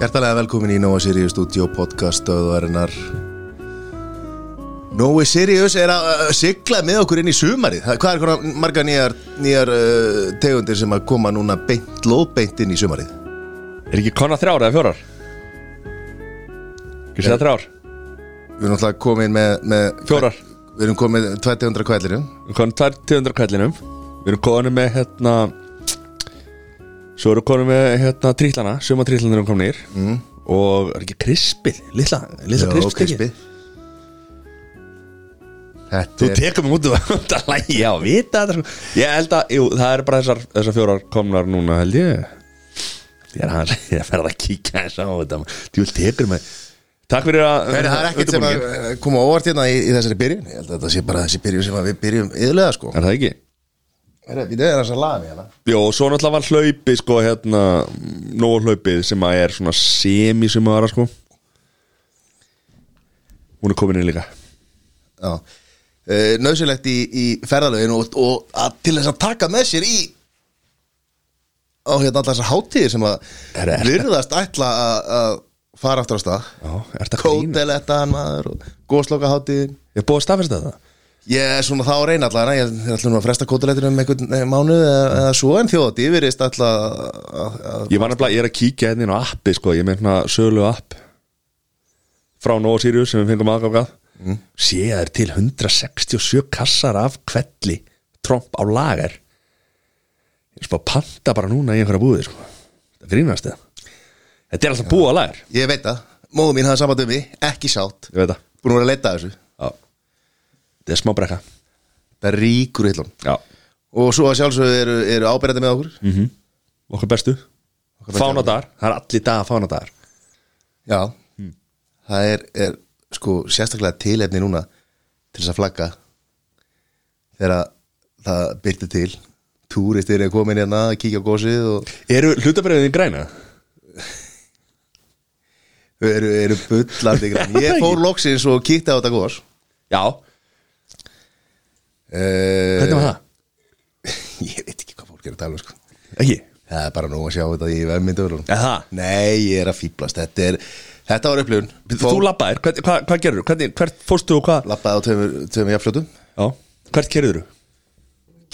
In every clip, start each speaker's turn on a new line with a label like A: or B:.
A: Hjertalega velkomin í Nóa Sirius stúdíó podcast stöðuarinnar Nói Sirius er að uh, sigla með okkur inn í sumarið Það- Hvað er konar marga nýjar, nýjar uh, tegundir sem að koma núna beint, lóðbeint inn í sumarið?
B: Er ekki konna þrjár eða fjórar? Ekki segja þrjár
A: Við erum alltaf komin með, með
B: Fjórar.
A: Við erum komin með 200 kvælirum
B: Við konum tvær tegundar kællinum Við erum konum með hérna Svo erum konum með hérna trýtlana Suma trýtlana erum komin nýr mm. Og er ekki krispið Lilla, lilla krispið ekki
A: Þetta
B: Þú
A: er
B: tekur mig út og vant að lægja og vita þetta sko. Ég held að, jú, það er bara þessar, þessar fjórar komnar núna held ég Ég er hans, ég ferð að kíkja þess á þetta Þú tekur mig Takk fyrir að
A: Heri, það er ekkert sem að eh, koma á óvart hérna í, í þessari byrjun Ég held að þetta sé bara þessi byrjun sem að við byrjum yðlega sko
B: Er það ekki?
A: Heri, Við erum þess að laga hérna
B: Jó, og svo náttúrulega var hlaupið sko hérna, nóg hlaupið sem að er svona semi-sumara sko Hún er komin inn líka
A: Já Uh, nöðsynlegt í, í ferðalögin og, og að, til þess að taka með sér í á hérna allar þessar hátíðir sem að
B: Herra, er-
A: virðast ætla að að fara aftur á stað
B: Já, er þetta grína?
A: kótelettan maður og góðsloka hátíðin
B: Ég er búið að staðfesta það
A: ég er svona þá að reyna allar ég ég ætla nú að fresta kótelettinu um einhvern eh, mánuð eða, eða svo en þjóðat ég virðist ætla að- að að-
B: Ég var nefnilega, ég er að kíkja hérna inn á appi sko Ég er með hérna sölu app Frá Nóa Sirius sem við fengum aðgáfgað mm. Sé að það er til 167 kassar af kvelli Tromp á lager Ég er spá að panta bara núna í einhverja búið sko Það grínast það Þetta er alltaf búið á lager
A: ég veit það, móðu mín hafði samband um mig ekki sátt,
B: Ég veit það
A: búin að vera að leita að þessu
B: Já Þetta er smá brekka
A: það ríkur í hillum
B: Já
A: og svo að sjálfsögðu eru, eru ábyrðandi með okkur
B: Okkur Mhm. bestu Fánadagar Það er allir dagar fánadagar
A: Já
B: Hmm.
A: Það er, er sko sérstaklega tilefni núna til þess að flagga þegar að það byrti til túristir er komin hérna að kíkja á gósið og
B: Eru hlutabriðin græna?
A: þau eru, eru bullandi grann Ég fór loksins og kíkti á þetta gós
B: Já
A: uh,
B: Hvernig var það?
A: Ég veit ekki hvað fólk er að tala um sko
B: Ekki
A: Það er bara nú að sjá þetta í vefmyndavölunum
B: Eða það?
A: Nei, ég er að fýblast Þetta, er, þetta var upplifun
B: Þú labbaðir Hvað, hvað, hvað gerur? Hvernig, hvert fórstu og hvað?
A: lappaði á tveimur, tveimur jafnfljótum
B: Já Hvert kerður þú?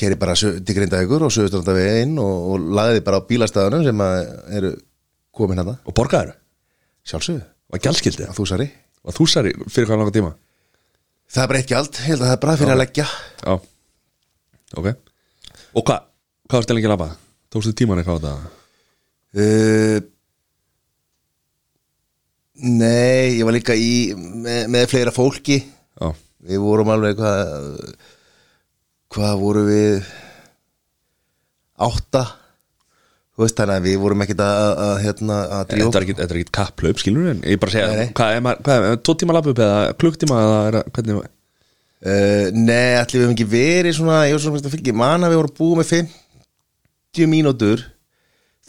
A: keri bara sö- til Grindavíkur og Suðustrandavegin og, og lagði bara á bílastæðunum sem að eru komin hana
B: Og borgaður?
A: sjálfsögðu,
B: Var gjaldskildið?
A: að þú sari
B: Var þú sari fyrir hvað langa tíma?
A: það er bara eitt gjald, ég held að það er bara fyrir að leggja
B: Já Ok Og hvað? Hvað varstu lengi að labba? Tókstu tíman eitthvað á þetta?
A: uh, Nei, ég var líka í með, með fleira fólki
B: Já
A: við vorum alveg hvað hvað voru við átta þú veist þannig að við vorum ekkit að, að, að, hérna, að drífa
B: Þetta er ekki, þetta er ekki kapplaup, skilur en ég bara segja,
A: Nei, nei.
B: hvað er maður, hvað er, tvo tíma lappu upp eða klukktíma eða er, það- hvernig,
A: Uh, nei, allir við hefum ekki verið svona, ég var svona fyrst að fylgja, man að við vorum búið með 50 mínútur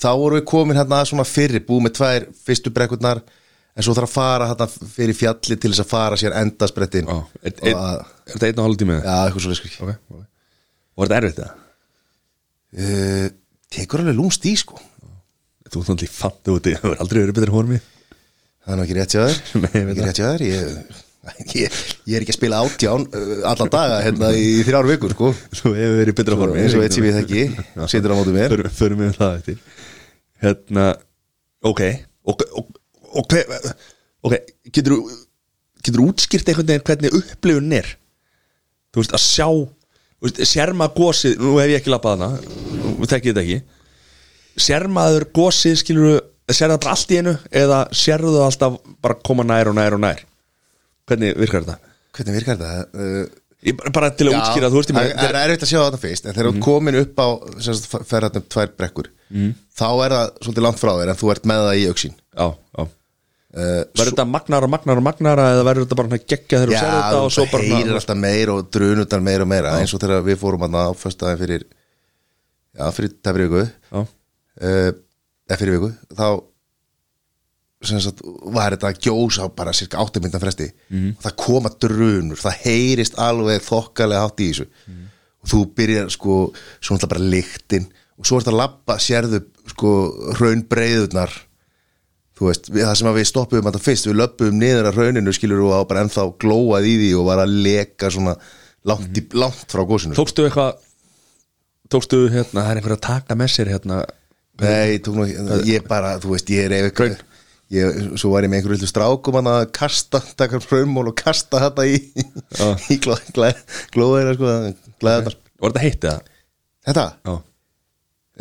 A: þá vorum við komin hérna svona fyrri búið með tvær fyrstu brekkurnar en svo þarf að fara hérna fyrir fjalli til þess að fara sér endasprettin
B: Á,
A: og
B: er, er,
A: að,
B: er þetta einn og hálf tími?
A: já, eitthvað sko. svo leyskur
B: Ok, ok Og er þetta erfitt það?
A: uh, tekur alveg lúmst í sko
B: Þú ert náttúrulega fatt úti, það verður aldrei verið betri hormi
A: það er nú ekki rétt hjá þér
B: Nei, ég veit
A: ekki rétt hjá þér ég, ég, ég er ekki að spila átján uh, alla daga hérna í þrjár vikur sko
B: Þú hefur verið í betra hormi
A: eins og eitt sem ég þekki situr á mótu mér
B: Förum- Förum við um það eftir Hérna, ok Ok, ok, ok, okay. Getur, getur útskýrt einhvern veginn hvernig upplifun er Þú veist, að sjá þú veist, Sérma gósið, nú hef ég ekki labbað hana Þú tekkið þetta ekki Sérmaður gósið skilur Sérðu það bara allt í einu Eða sérðu það alltaf bara koma nær og nær og nær Hvernig virkar þetta?
A: hvernig virkar það? Uh,
B: Ég, bara- bara til að
A: Já,
B: útskýra, þú veist ég
A: það
B: meina,
A: það er erfitt að sjá þetta fyrst en
B: Mhm.
A: þegar þú mm. komin upp á sem sagt, ferðarnum tvær brekkur þá er það svolítið langt frá þér en þú ert með það í auksin
B: Já, já Eh,
A: uh,
B: Verður þetta magnara, magnara, magnara eða verður þetta bara geggja þegar þú sér þetta og svo bara
A: heyrir alltaf meir og drunutar meir og meira eins og þegar við fórum að á föstaðin fyrir já, fyrir tæfri viku
B: Já,
A: uh, eða fyrir viku þá sem sagt, var þetta að gjósa á bara cirka áttamyndan fresti og það koma drunur, það heyrist alveg þokkalega hátt í þessu og þú byrjar sko svo náttúrulega bara lyktin og svo er þetta að labba sérðu sko hraunbreiðurnar þú þú veist, við, það sem að við stoppuðum þetta fyrst, við löppuðum niður að rauninu skilur og á bara ennþá glóað í því og var að leka svona langt, í, langt frá gósinu sko.
B: Tókstu eitthvað Tókstu hérna, það er einhver að taka með sér hérna
A: Nei, tók nú, ég bara, þú veist, ég er ef ykkur ég, Svo var ég með einhverju litlu strákum hann að kasta, taka frumól og kasta þetta í,
B: Já.
A: í gló, gló, glóðina, sko, glæðarnar
B: Var þetta heitt eða?
A: Þetta,
B: Já,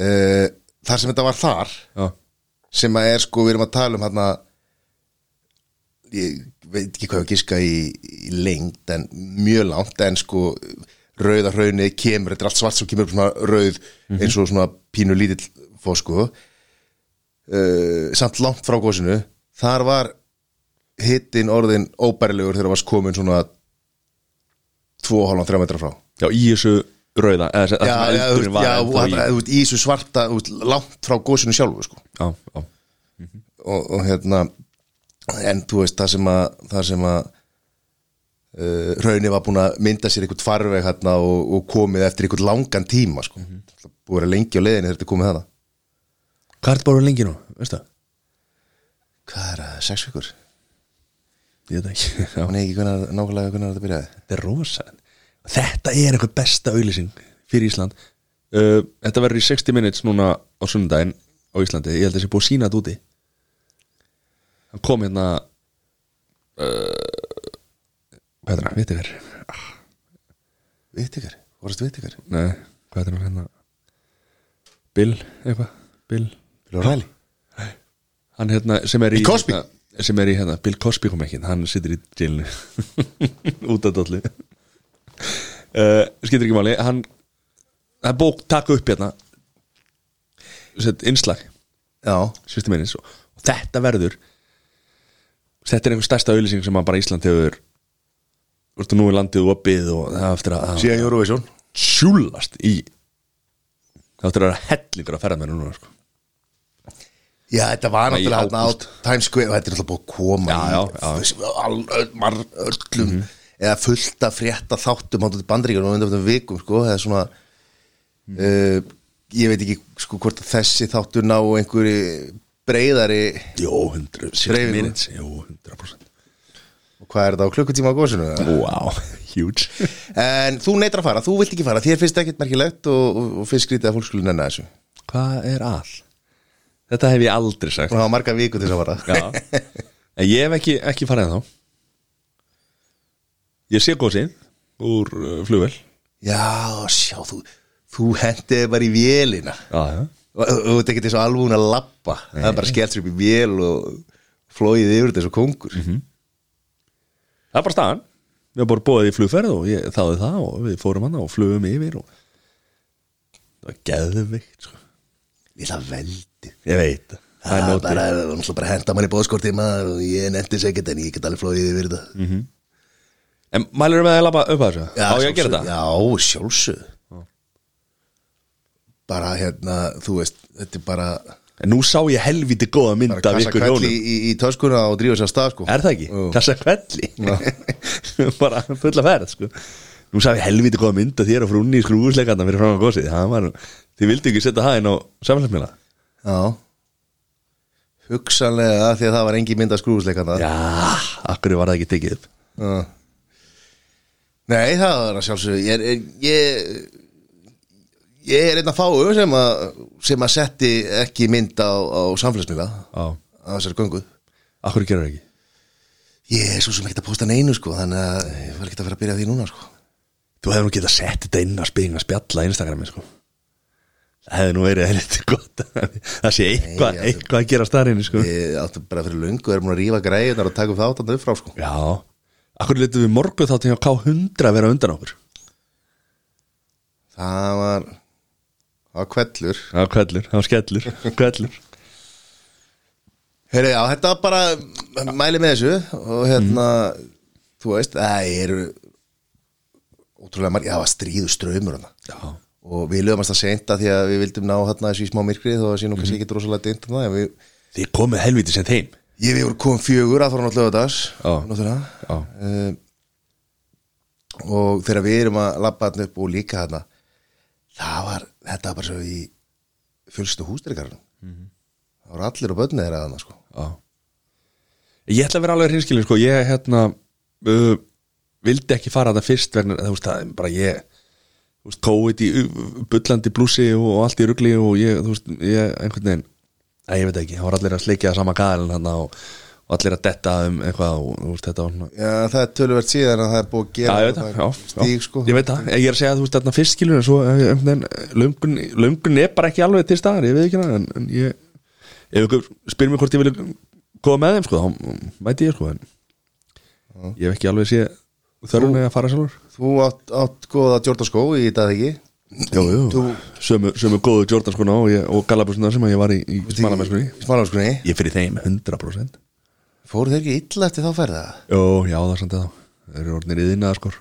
A: uh, þar sem þetta var þar
B: já,
A: sem að er, sko, við erum að tala um hann ég veit ekki hvað ég á að giska í, í lengt en mjög langt en sko rauða hraunið kemur, þetta er allt svart sem kemur upp svona rauð
B: Mhm.
A: eins og svona pínu lítill fór sko uh, samt langt frá gósinu þar var hittin orðin óbærilegur þegar varst komin svona 2,5-3 metra frá
B: já, í þessu rauða eða, sem- þar
A: já,
B: sem
A: já, þú
B: eldurinn
A: veist,
B: var
A: já,
B: ennþá
A: og
B: í-
A: þarna, þú veist, í þessu svarta þú veist, langt frá gósinu sjálfu sko
B: já, já,
A: og, og hérna en þú veist það sem að það sem að uh, raunni var búin að mynda sér einhvern farveg hérna og, og komið eftir einhvern langan tíma sko. mm -hmm. búið að vera lengi á leiðinni þegar þetta er komið það
B: Hvað er þetta bara lengi nú, veistu það?
A: hvað er það, sex vikur?
B: Ég veit það ekki, já,
A: hún er ekki hvernig, nákvæmlega hvernig þetta byrjaði
B: þetta er rosa Þetta er eitthvað besta auðlýsing fyrir Ísland uh, Þetta verður í 60 minutes núna á sunnudaginn á Íslandi, ég held að þessi búið að sína þetta úti Hann kom hérna uh, Hvað er það, viti verið
A: vitt ykkur, vorast vitt ykkur
B: Nei, hvað er það hérna Bill, eitthvað Bill,
A: Bill O'Reilly?
B: Hann hérna, sem er í
A: Bill Cosby?
B: hérna, Sem er í hérna, Bill Cosby kom ekki Hann situr í jailinu Út af dollu uh, Skiptir ekki máli Hann, hann bók taka upp hérna Sett innslag
A: já,
B: Svistum einnig og, og þetta verður Þetta er einhver stærsta auðlýsing sem að bara Ísland hefur Þú veist, nú er landið opið og það á eftir að það-
A: síðan Eurovision
B: sjúlast í þá ættir að vera hellingur að ferða með núna sko.
A: já, þetta var
B: Nei, í
A: náttúrulega hérna á
B: ágúst.
A: Times Square og þetta er alltaf búið að koma
B: Já,
A: í
B: já, Mhm.
A: all, öll- mar- öllum eða fullt að frétta þáttum ándur til bandaríkjörn og undanfjöndum vikum sko, eða svona
B: Mhm.
A: uh, ég veit ekki sko hvort að þessi þáttur ná einhverju breyðari
B: Jó, 100
A: Dreifingu.
B: minutes Jó, 100%
A: og hvað er þetta á klukkutíma á gósinu eða?
B: Wow, huge
A: en þú neitar að fara, þú vilt ekki fara þér finnst ekkert merkilegt og, og, og finnst skrítið að fólk skulle nenna þessu og
B: Hvað er all? Þetta hef ég aldrei sagt
A: það var marga viku til þess að fara
B: Já En ég hef ekki, ekki farið þá Ég sé góðsinn úr uh, flugvel
A: já, sjá, þú, þú hendiði bara í vélina
B: Já, já
A: og og- og þetta er ekki þessu alvúin að lappa það er bara skellt sér upp í vél og flóið yfir þessu kongur
B: Mhm. Það er bara staðan Við erum bara bóðið í flugferð og ég þáði það og við fórum hann og flugum yfir og það var geðvikt sko.
A: við það veldi
B: Ég veit
A: það er
B: nótið.
A: bara, náttúrulega bara henda mann í bóðskorti maður og ég nefndi sér ekkert en ég get alveg flóið yfir þetta
B: En mælur með að labba upp að þessu? Mhm. Á ég að gera
A: sjálfsögðu.
B: það?
A: já, sjálfsög bara hérna, þú veist þetta er bara,
B: En nú sá ég helviti góða mynd
A: bara
B: af
A: kassa
B: ykkur
A: kvelli
B: hjónum
A: í, í, í töskuna og drífa sér af stað sko
B: Er það ekki?
A: Jú.
B: Kassa kvelli Bara fulla ferð sko Nú sá ég helviti góða mynd af þér og frunni í skrúfusleikarna fyrir fram að gósið Það var nú Þið vildi ekki setja það inn á samfélagsmiðla
A: já hugsanlega því að það var engin mynd að skrúfusleikana
B: Já, akkur Ah, var það ekki tekið upp
A: Já. Nei, það er að sjálfsögðu Ég er, ég, ég, ég er einn að fáu sem að, sem að setti ekki mynd á, á samfélagsmiðla
B: Já,
A: á þessari göngu
B: akkur gerur það ekki
A: Ég er svo sem ekkert að posta neinu sko þannig að ég var ekkert að fara að byrja á því núna sko
B: Þú hefði nú getað sett þetta inn að spila, að spjalla á Instagrami sko Það hefði nú verið helviti gott Það sé eitthvað,
A: Nei, já, þú-
B: eitthvað að gera starinn sko
A: Ég átti bara fyrir löngu, er múin að rífa greiðunar og taka upp þáttan upp frá sko
B: Já Akkur letum við morgu þáttin hjá K100 að vera undan okkur
A: Það var, það var kvellur
B: Já, kvellur, það var skellur Kvellur
A: Heyri, já, þetta var bara mæli með þessu og hérna, þú veist, það eru ótrúlega margir, það var stríðu ströymur hana.
B: Já,
A: og við lögumast það seinta því að við vildum ná hérna þessu í smá myrkri þó að sé nú kannski ekki rosalega dynt um það, en við,
B: þið komið helvítið sem þeim
A: ég við vorum komum fjögur að þóra náttúrulega dags
B: Já.
A: náttúrulega
B: Já.
A: uh, og þegar við erum að labba hann upp og líka hérna það var, þetta var bara svo í fjölstu hústyrkarinn það voru allir og bönni þeirra þarna sko
B: Já, ég ætla að vera alveg hinskilin sko, ég hérna uh, vildi ekki fara þetta fyrst verðin, þú veist, það er bara ég þú veist, COVID í uh, bullandi blúsi og, og allt í rugli og ég, þú veist, ég einhvern veginn, að ég veit ekki, það var allir að sleikja það sama gæðin hann og, og allir að detta um eitthvað og þú veist, þetta var svona
A: Já, það er töluvert síðan að það er búið að
B: Já,
A: gera
B: ég veit það,
A: það,
B: já,
A: stíg,
B: já.
A: sko.
B: Ég veit það, ég er að segja að þú veist þarna fyrst skilur en svo eh, einhvern veginn, löngun, löngun er bara ekki alveg til staðar, ég veit ekki hana en, en ég, ef ykkur spyr mér hvort ég vilja koma með þeim sko, þá mæti ég sko en ég hef ekki alveg sé þörfum að fara sjálfur
A: Þú átt, átt góða Jordan skó í dag ekki
B: Jú, jú, sömu, sömu góðu Jordan sko og, ég- og Galabusundar sem að ég var í, í smalamennskunni
A: Smálagsgrunni
B: Ég fyrir þeim 100%
A: Fóru þeir ekki illa eftir þá ferða?
B: Jó, já það er samt að þá, þeir eru orðinir yðinaða sko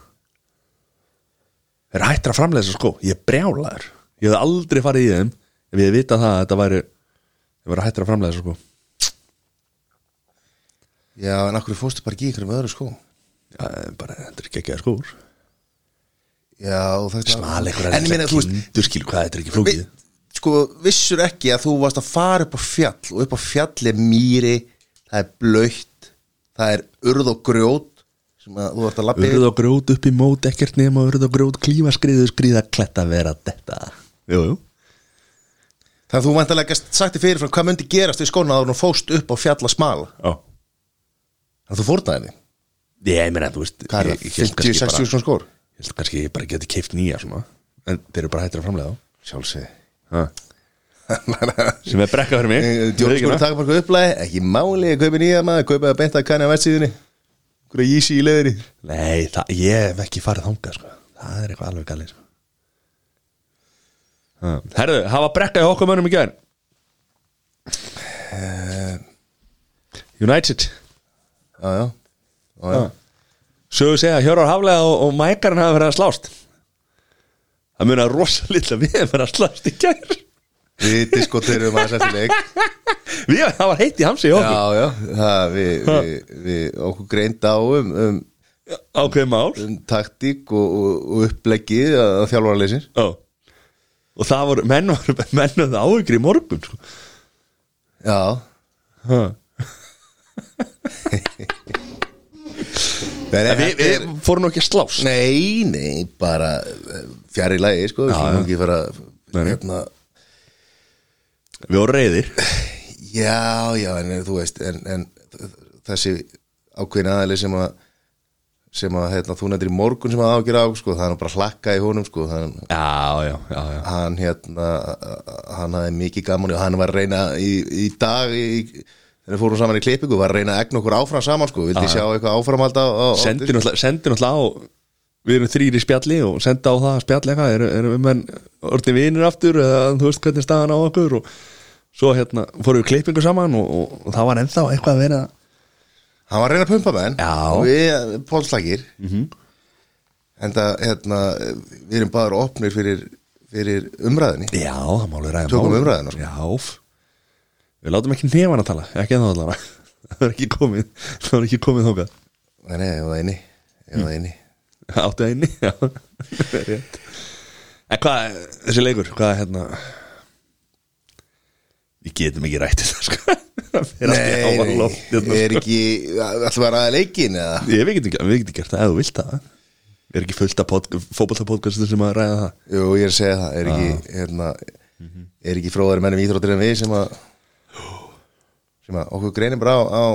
B: Þeir eru hættir að framlega þessar sko, ég er brjálaður Ég hefði aldrei farið í þeim ef ég hefði vitað það að þetta væri Þeir eru hættir að framlega þessar sko
A: Já, en akkur fórstu bara ekki í ykkur með öðru skó
B: Já, eh, bara þetta er ekki ekki að skór
A: Já, og það
B: Smal einhverja
A: En ég meina, þú veist,
B: kindur skil hvað þetta er ekki flókið
A: við, sko, vissur ekki að þú varst að fara upp á fjall og upp á fjall er mýri það er blöytt það er urð og grjót sem að þú ert að labbi
B: Urð og grjót upp í mót ekkert nema urð og grjót klífa skriðu skriða kletta vera þetta Jú, jú
A: þannig að þú vantarlega gæst sagt í fyrirfram hvað myndi gerast í skóna þá þú fóst upp á fjall að smal
B: Já.
A: þannig að þú fórnaði því
B: Ég meina, þú veist
A: hvað er
B: ég-
A: það,
B: ég held kannski
A: 50-60
B: bara-
A: svona skór
B: Ég held kannski ég bara geti keift nýja svona En þeir eru bara hættir að framlega þá
A: sjálfsvið
B: Ha. Eh, sem er brekka fyrir mig
A: Djórn
B: sko,
A: skóri takk bara upplæði, ekki máli að kaupa nýja maður, kaupa að beinta að kanna á verðsíðinni hverja jísi í leðinni
B: Nei, það, ég hef ekki farið þangað sko. það er eitthvað alveg galið sko. Ha. Herðu, hafa brekka í okkur mönnum í gæðin Eh. United
A: já, já, já, já.
B: Sögur segja að Hjórar Haflega og, og Mækarinn hafa verið að slást Það munar rosalítla við hefum verið að slást í gær
A: við diskoturum aðeins eftir leik
B: Við, það var heitt í hamsi í okkur
A: Já, já, það, við, við, við okkur greind á um, um,
B: Ákveð mál
A: um taktík og, og, og uppleggið að þjálfarleysir
B: Já. Og það voru, menn voru, menn voru áhyggjur í morgun sko.
A: Já,
B: Ha.
A: nei,
B: En við, við fórum nú ekki að slást
A: nei, nei, bara fjari lagi, sko, við skulum ekki fara
B: Nei, nei.
A: hérna,
B: Við vorum reyðir
A: já, já, en eh, þú veist en, en þessi ákveðin aðeins sem að sem að hérna, þú nefndir í morgun sem að ágjöra á sko, það er nú bara hlakka í honum sko, hann,
B: Já, já, já, já
A: hann hérna hann hafði mikið gaman og hann var að reyna í, í dag í, þegar við fórum saman í klippingu var að reyna að egna okkur áfram saman sko vildi sjá eitthvað áfram alltaf á, á,
B: Sendi náttúrulega, sendi náttúrulega á Við erum þrýri í spjalli og senda á það að spjalli eitthvað Eru, eru við menn orðin vinir aftur eða þú veist hvernig staðan á okkur og svo hérna fórum við klippingu saman og, og, og það var ennþá eitthvað að vera
A: hann var að reyna að pumpa menn
B: Já. Mhm.
A: við pólslagir mm -hmm. en það hérna við erum bara opnir fyrir, fyrir umræðinni
B: Já, það má alveg ræða
A: Tökum
B: málið.
A: umræðuna, sko.
B: Já, f- við látum ekki nefana að tala, ekki ennþá allara Það er ekki komið, það er ekki komið þókað
A: nei, nei, ég var það inni, ég var það inni.
B: Áttu að inni, já Rétt. En hvað, þessi leikur, hvað er hérna Við getum ekki rætt þetta sko Það fer allt í háa loft
A: nei,
B: hérna,
A: nei er
B: sko.
A: ekki alltaf að ræða leikin eða
B: Ég, Við getum, við getum gert það, ef þú vilt það Við erum ekki fullt af fótboltapodcastum sem að ræða það
A: Jú, ég er að segja það er ekki, hérna,
B: Mhm.
A: er ekki fróðari mennum íþróttir en við sem að sem að okkur greinir bara á, á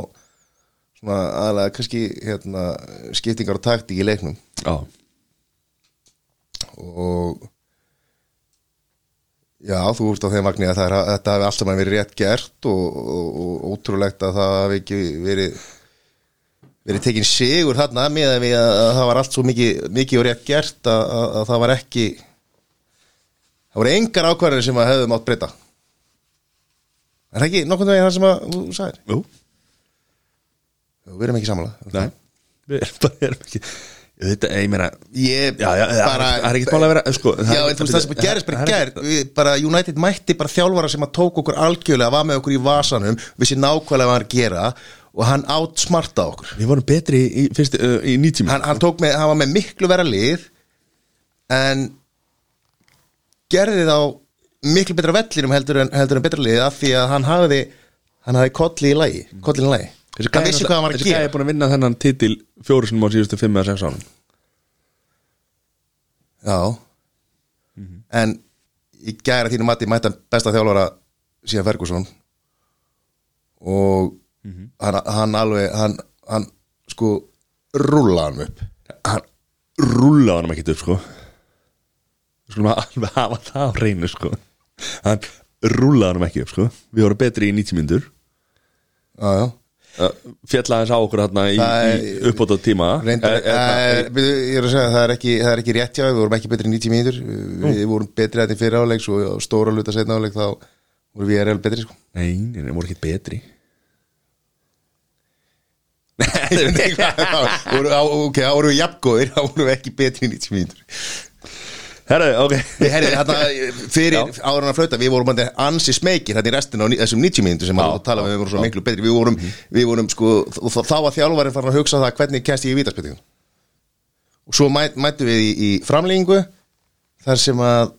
A: svona aðalega kannski hérna, skiptingar og taktík í leiknum
B: Já,
A: og já, þú ert á þeim vagnir að það er, að þetta hafi alltaf maður verið rétt gert og, og, og ótrúlegt að það hafi ekki verið verið tekin sigur þarna með að, að, að það var allt svo mikið, mikið og rétt gert að, að, að það var ekki það voru engar ákvarðanir sem að hefðu mátt breyta er það ekki nokkurn veginn það sem að þú sagðir
B: jú,
A: Jú, við erum ekki samanlega
B: nei Við erum bara, erum ekki Þetta, ég meina
A: ég
B: Já, já, það
A: bara
B: er ekkert mál að vera sko, það
A: Já,
B: er-
A: en þú veist það sem gerist bara
B: það er
A: ger
B: ekkert-
A: við, bara United mætti bara þjálfara sem að tók okkur algjörlega, var með okkur í vasanum vissi nákvæmlega hvað hann er að gera og hann átt smarta okkur
B: Við vorum betri í, fyrst, uh, í nýtími
A: hann, hann, tók með, hann var með miklu vera lið en gerði þá miklu betra vellinum heldur en, heldur en betra lið af því að hann hafði hann hafði kolli í lagi, kollin í lagi
B: Þessi
A: Hann
B: gæi
A: vissi
B: náttúrulega-
A: hvað hann var að
B: Þessi
A: gera.
B: gæði er búin að vinna þennan titil fjóru sinum á síðustu 5 eða 6 ánum
A: Já
B: Mhm.
A: En í gæra þínu mati mætti hann besta þjálfara síðan Ferguson og
B: Mhm.
A: hann, hann alveg hann, hann sko rúlaði hann upp
B: Hann rúlaði hann ekki upp sko Skulum að alveg hafa það á reynu sko Hann rúlaði hann ekki upp sko Við vorum betri í 90 myndur
A: Já, já
B: Fjalla hans á okkur þarna í,
A: Það er-
B: í uppbóta tíma
A: Reyndar,
B: Eh, eh,
A: eh, byrju, ég er að segja, það er ekki, það er ekki rétt hjá, við vorum ekki betri en 90 mínútur við vorum betri að þetta fyrir áleik svo á stóra luta setna áleik þá vorum við erum betri sko
B: Nei, nei, nei, voru ekkert betri
A: Nei, hvað- þá voru- á- ok, þá vorum við jafngóðir þá vorum við ekki betri en 90 mínútur
B: Herra, ok
A: Við herrið, hérna, fyrir áður hann að flauta Við vorum bara ansi smeykir hérna í restin á ní- þessum 90 mínútur sem hann talaði um, við vorum svo miklu betri Við vorum,
B: Mhm.
A: við vorum sko, og þá- þá var þjálfarinn farin að hugsa það hvernig kæst ég í vítaspettingum Og svo mæt, mættu við í, í framlengingu þar sem að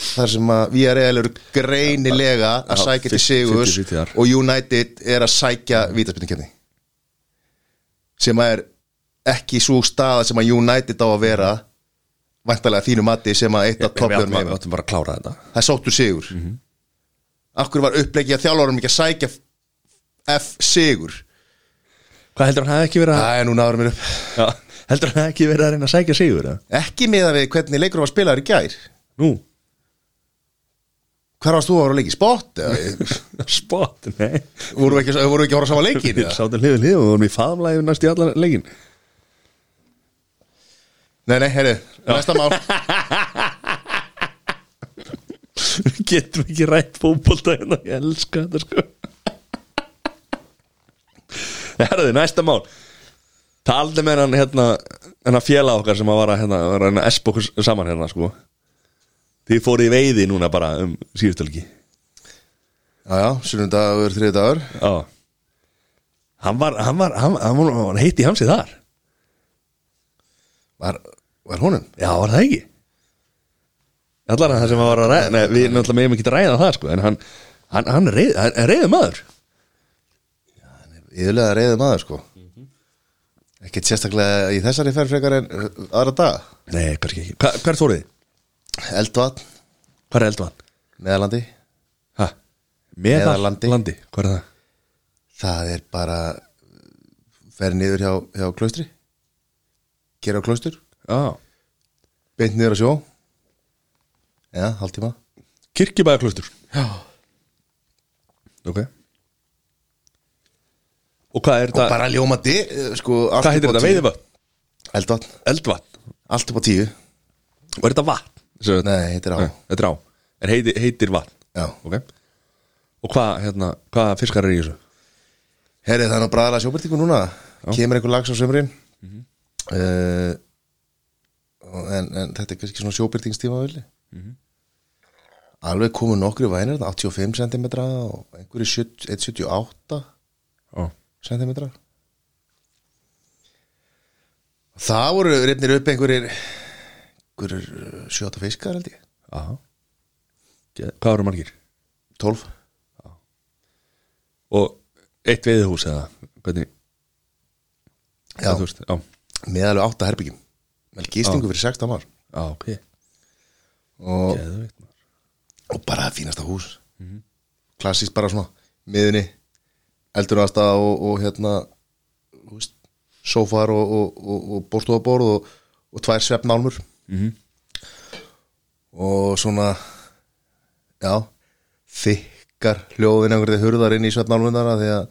A: þar sem að VRL eru greinilega að
B: Já,
A: sækja til
B: 50,
A: Sigurs
B: 50 þar.
A: og United er að sækja vítaspenningkefni sem að er ekki svo staða sem að United á að vera væntalega þínu mati sem að eitt af topplum
B: Við
A: heima
B: áttum bara að klára þetta
A: það er sóttur Sigur mm -hmm. Akkur var upplegið að þjálfarum ekki að sækja F Sigur
B: Hvað heldur hann hafi ekki verið að
A: Það er núna ára mér upp
B: Já, Heldur hann hafi ekki verið að reyna að sækja sigur eða?
A: Ekki með að við hvernig leikur var spilaður í gær
B: Nú,
A: Hvar varst þú að voru leikið? Spott? eða?
B: spot, nei
A: voru ekki, voru ekki að horfa saman leikin?
B: Við sátum hlið við hlið og við vorum í faðumlæði næst í allan leikin
A: nei, nei, herri, næsta mál
B: Við getum ekki rætt fótbolta hérna, ég elska þetta sko Herðu, næsta mál Taldi með hann hérna hennar fjela okkar sem að vara hérna var að espa okkur saman hérna sko Þið fóru í veiði núna bara um síðustelgi
A: Já, já, sunnundagur, þriðdagur
B: Já Hann var, hann var, hann, hann var, hann var heitt í hamsið þar
A: Var, var honum?
B: Já, var það ekki Allar hann það sem hann var að ræða Nei, við náttúrulega meðum ekki að ræða það sko En hann, hann, hann, reið, hann er reiður maður
A: Íðurlega reyðum aður, sko Ekkert sérstaklega í þessari ferð frekar en uh, aðra dag
B: Nei, kannski ekki Hva, Hver þórið þið?
A: Eldvatn,
B: Hvar er eldvann?
A: meðalandi
B: Ha?
A: Meðallandi.
B: Landi, hvað er það?
A: Það er bara Fer niður hjá, hjá klaustri Gera á klaustur
B: Já,
A: Beint niður á sjó Já, hálftíma
B: kirkjubæðaklustur
A: Já
B: Ok Og hvað er þetta?
A: Bara ljómandi, uh, sko allt
B: Hvað heitir
A: upp á
B: þetta?
A: tíu.
B: Veiðivatn?
A: Eldvatn,
B: Eldvatn?
A: allt upp á tíu
B: Og er þetta vatn? Þessu-
A: Nei, heitir á
B: Nei, Þetta er á Er heiti, heitir vatn
A: Já
B: Ok Og hvað, hérna, hvað fiskar er í þessu?
A: Herri, það er nú bræðalega sjóbyrtingu núna Kemur einhver lags á sömurinn mm Eh, en, en þetta er kannski svona sjóbyrtingstíma villi Alveg komu nokkri vænir þarna, 85 cm og einhverju 70 178
B: Ó
A: cm Það voru reyfnir upp einhverjir einhverjir uh, 7-8 fiskar held ég
B: Aha Ge- Hvað eru margir?
A: 12
B: Og eitt veiðihús eða Hvernig?
A: Já,
B: Þú veist, já
A: með alveg 8 herbyggjum Vel gistingu fyrir 16 ár
B: Já, ok
A: og
B: Geðveikt, maður.
A: og bara það fínasta hús mm klassist bara svona miðunni, eldurasta og, og hérna þú veist, sófar og, og, og, og bórstofaborð og, og tvær svefnálmur
B: Mhm.
A: og svona já þykkar hljóðin einhverju hurðar inn í svefnálmundana því að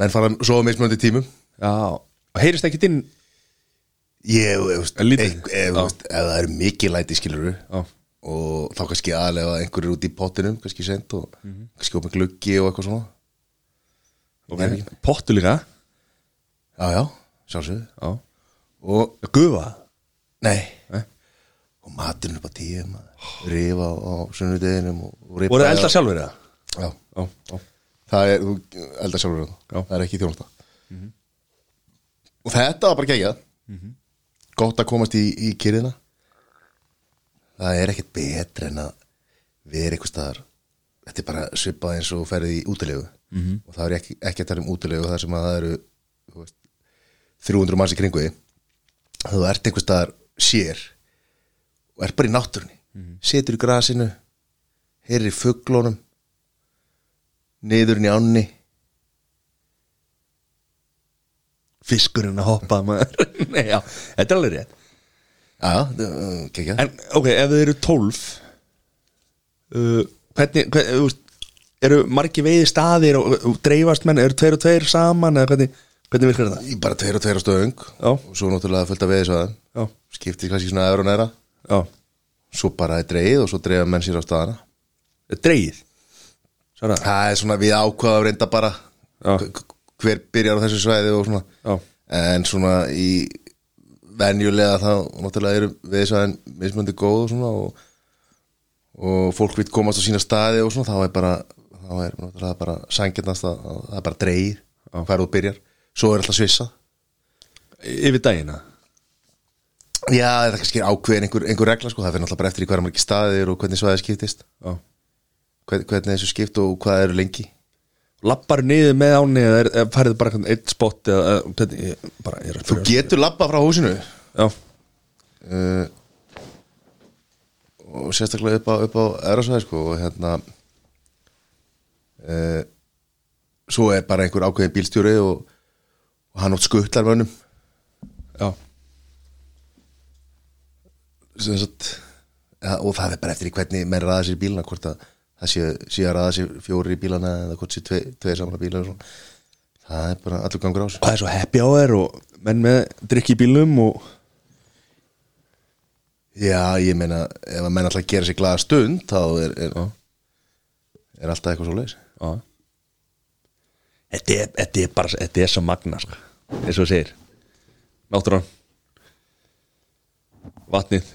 A: menn fara að sofa mismunandi tímum
B: Já Og heyrist ekki inn
A: ég, þú veist,
B: En lítið?
A: einhver- ef,
B: Já.
A: þú veist, ef það er mikið læti skilur
B: Já
A: og þá kannski aðlega einhverjir út í pottinum, kannski sent og
B: Mhm.
A: kannski opið gluggi og eitthvað svona
B: okay. Pottu líka
A: já, já, sjálfsögðu
B: Já
A: og,
B: Gufa Eh?
A: nei,
B: Nei.
A: og maturinn upp á tíu maður. rifa á sunnudeginum og, og ripa
B: Voru það eldar sjálfur eða?
A: já,
B: Já, já
A: það er, þú eldar sjálfur
B: Já.
A: þarna. það er ekki þjónusta og þetta var bara gegja gott að komast í, í kyrðina það er ekkert betra en að vera eitthvað staðar þetta er bara svipað eins og ferði í útilegu -hmm. og það er ekki, ekki að tala um útilegu þar sem að það eru þú veist, 300 manns í kringu því þú ert einhvers staðar sér og ert bara í náttúrunni situr í grasinu heyrir í fuglónum niðurinn í ánni
B: fiskurinn að hoppa maður Nei, já, þetta er alveg rétt
A: Já, uh, kekja
B: En ok, ef þið eru 12 uh, Hvernig, hvernig þú veist, Eru margi veiði staðir og, og dreifast menn, eru tveir og tveir saman eða hvernig, hvernig virkar það?
A: Í bara tveir og tveir á stöðung
B: Já.
A: og svo náttúrulega fullt af veðisvæðum
B: Já,
A: skiptið kannski svona eður og næra
B: já,
A: svo bara er dreigð og svo dreigða menn sér á staðana
B: dreigið Svara,
A: það er svona við ákvaða reynda bara
B: Já.
A: h- h- hver byrjar á þessu svæði og svona
B: já,
A: en svona í venjulega þá náttúrulega eru veðisvæðin mismöndi góð og svona og, og fólk vil komast á sína staði og svona þá er bara þá er náttúrulega bara sangjandast að að það er bara dreigð hver þú byrjar svo er alltaf svissa
B: yfir dagina
A: Já, það kannski er ákveðin einhver, einhver regla sko, það fyrir náttúrulega bara eftir í hverja margir staðir og hvernig svæðið skiptist
B: Já
A: hvern, hvernig þessu skipt og hvað eru lengi
B: Lappar niður með áni eða, er- eða færið bara einhvern einn spott eða, eða hvernig, ég, bara, ég er að
A: Þú
B: spyrja.
A: getur labba frá húsinu
B: Já,
A: uh, og sérstaklega upp á, upp á erasvæði sko og hérna uh, svo er bara einhver ákveðin bílstjóri og, og hann átt skuttlar mönnum
B: já,
A: sem sagt, ja, og það er bara eftir í hvernig menn raða sér í bílana hvort að það sé, sé að raða sér fjórir í bílana eða hvort sé tve, tveir saman bílar og svona það er bara allur gangur á sko.
B: hvað er svo happy hour og menn með drikki í bílum og
A: Já, ég meina, ef að menn alltaf gera sér glaða stund þá er, er, er alltaf eitthvað svo leis
B: Já Þetta er, þetta er bara Þetta er svo magna sko. eins og þú segir Náttúran Vatnið,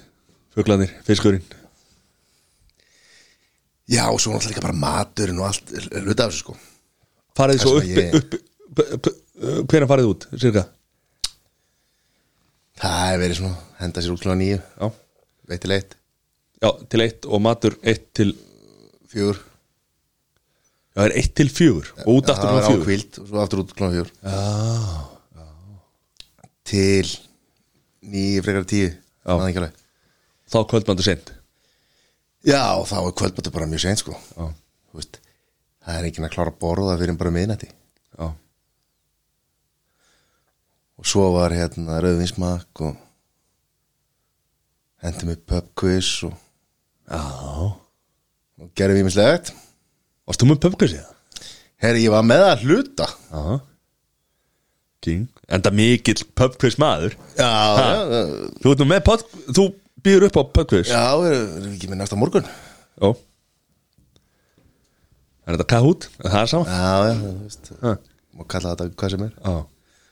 B: fuglanir, fiskurinn
A: Já, og svo náttúrulega líka bara maturinn og allt er- er hluti af þessu sko
B: Farið svo
A: Það
B: upp,
A: sem ég-
B: upp, upp, upp Hvernig farið þið út, cirka
A: Það hefur verið svona, henda sér út klá nýju
B: já.
A: veitil eitt,
B: já, til eitt og matur eitt til Já,
A: fjögur
B: það er eitt til fjögur og út aftur
A: Það
B: frá
A: var á
B: fjögur
A: kvíld og svo aftur út klá fjögur Já, já Til nýju frekar tíu
B: Já.
A: man það ekki alveg.
B: Þá kvöldmandur seint
A: Já, og þá er kvöldmáttu bara mjög seint sko
B: Já,
A: Þú veist, Það er enginn að klára að borða fyrir bara miðnætti
B: já,
A: og svo var hérna rauðvinsmak og hendi mig pub quiz og,
B: já
A: og gerðum ímislegt
B: Varstu með pöpkvæsið það?
A: herri ég var með að hluta
B: Já King Enda mikill pöpkvæs maður
A: já,
B: Ha?
A: já,
B: Þú ert nú með pod, þú býður upp á podquiz
A: já erum erum við ekki með næsta morgun
B: Jó Er þetta Kahoot? Er Það er sama
A: já, já, þú veist
B: Ha.
A: má kalla þetta hvað sem er
B: Já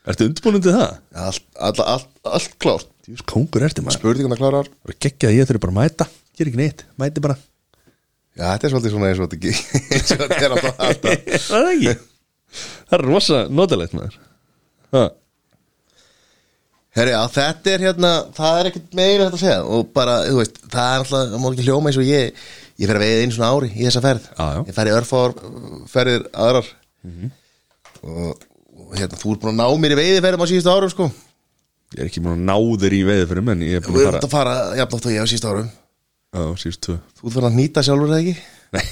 B: Ertu undirbúin undir það?
A: allt, allt, allt, allt klárt
B: Jús, kongur ertu maður
A: spurði hvernig klárar
B: Það er geggjað að ég þurfi bara að mæta Gera ekki neitt, mæti bara
A: já, þetta er svolítið svona eins og þetta ekki eins og þetta er alltaf alltaf
B: Það er ekki Það er rosa notalegt maður ha.
A: Herri, já, þetta er hérna, það er ekkert meira þetta að segja og bara, þú veist, það er alltaf, það má ekki hljóma eins og ég, ég fer að veiða einu svona ári í þessa ferð,
B: Já, já.
A: ég fer í örfár ferðir aðrar Mhm. og, og hérna, þú er búin að ná mér í veiði ferðum á síðustu árum, sko
B: Ég er ekki múin að ná þér í veði fyrir menn Ég er
A: og
B: búin
A: ég er
B: að fara
A: að fara, jafnlátt og ég á síðustu árum
B: Já, síðust tvö
A: þú ert fyrir að nýta sjálfur eða ekki?
B: Nei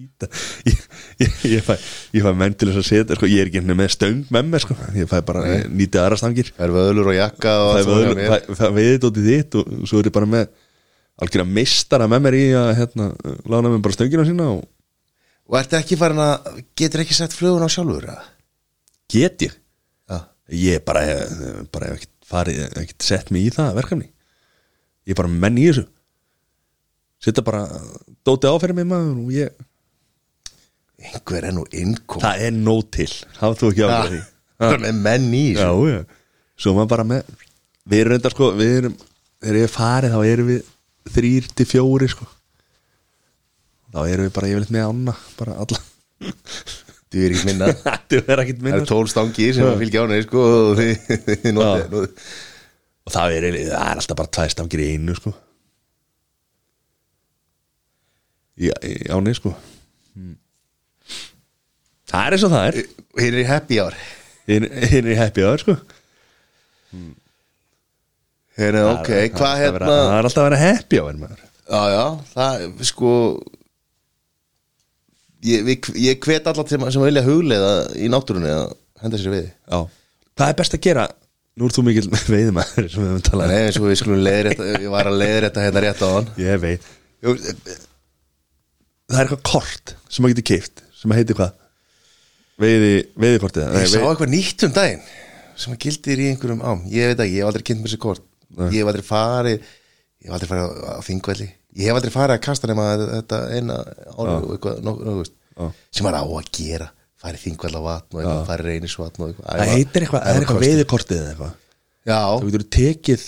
B: Íta. Ég, ég, ég, fæ, ég fæ menn til þess að setja sko, Ég er ekki einu með stöng með mér sko. Ég fæ bara ég nýti aðra stangir
A: Það er vöðlur og jakka og allt svona hjá mér.
B: það veiðið út í þitt og svo er ég bara með algjörða mistara með mér í að hérna, lána mér bara stöngina sína og
A: og ertu ekki farin að, getur ekki sett flugun á sjálfur eða?
B: get ég
A: Já,
B: ég bara, hef- bara hef ekkert farið ekkert sett mig í það verkefni ég er bara menn í þessu setja bara dótið á fyrir mig maður og ég
A: einhver er nú innkom
B: það er nóg til, hafðu þú ekki á því
A: það er með menn í,
B: já,
A: sko.
B: já, svo maður bara með við erum þetta sko, við erum þegar ég er farið þá erum við þrýr til fjóri sko þá erum við bara yfirleitt með ána bara alla
A: þú er ekki minna
B: Þetta er ekkert
A: Það
B: minna
A: eru tól stangir sem fylgja ánæði sko og þið, þið notið
B: Já.
A: notið-
B: Og það er, eiginlega- það er alltaf bara tvær stangir í einu sko Já, já nei sko Hmm. Það er eins og það er
A: Hér er í happy hour
B: Hinn- Hinn er happy hour sko
A: Hér er ok, hvað
B: Það er alltaf að
A: hérna
B: vera- Það er alltaf að vera happy hour maður
A: Já, já, það sko Ég, við, ég hvet alla til sem vilja hugleiða í náttúrunni að henda sér við
B: Já Hvað er best að gera? Nú ert þú mikil veiðmaður sem við höfum talað um.
A: Nei, eins og við skulum leiðrétta, ég var að leiðrétta hérna rétt á hann
B: Ég veit Jú, Það er eitthvað kort sem maður getur keift sem að heiti hvað? Veiði, veiðikortið
A: Ég sá
B: vei-
A: eitthvað nýtt um daginn sem að gildir í einhverjum ám Ég veit ekki, ég hef aldrei kynnt mér sér kort
B: Nei.
A: Ég hef aldrei farið Ég hef aldrei farið á, á þingvelli Ég hef aldrei farið að kasta nema þetta eina ári og eitthvað nokkuð nokku,
B: Já.
A: sem maður á að gera farið þingvell á vatn og eitthvað, farið reynisvatn og eitthvað
B: Það
A: æfa-
B: heitir eitthvað, það
A: æfa
B: er eitthvað
A: kostir.
B: veiðikortið eða eitthvað
A: Já,
B: Þú getur tekið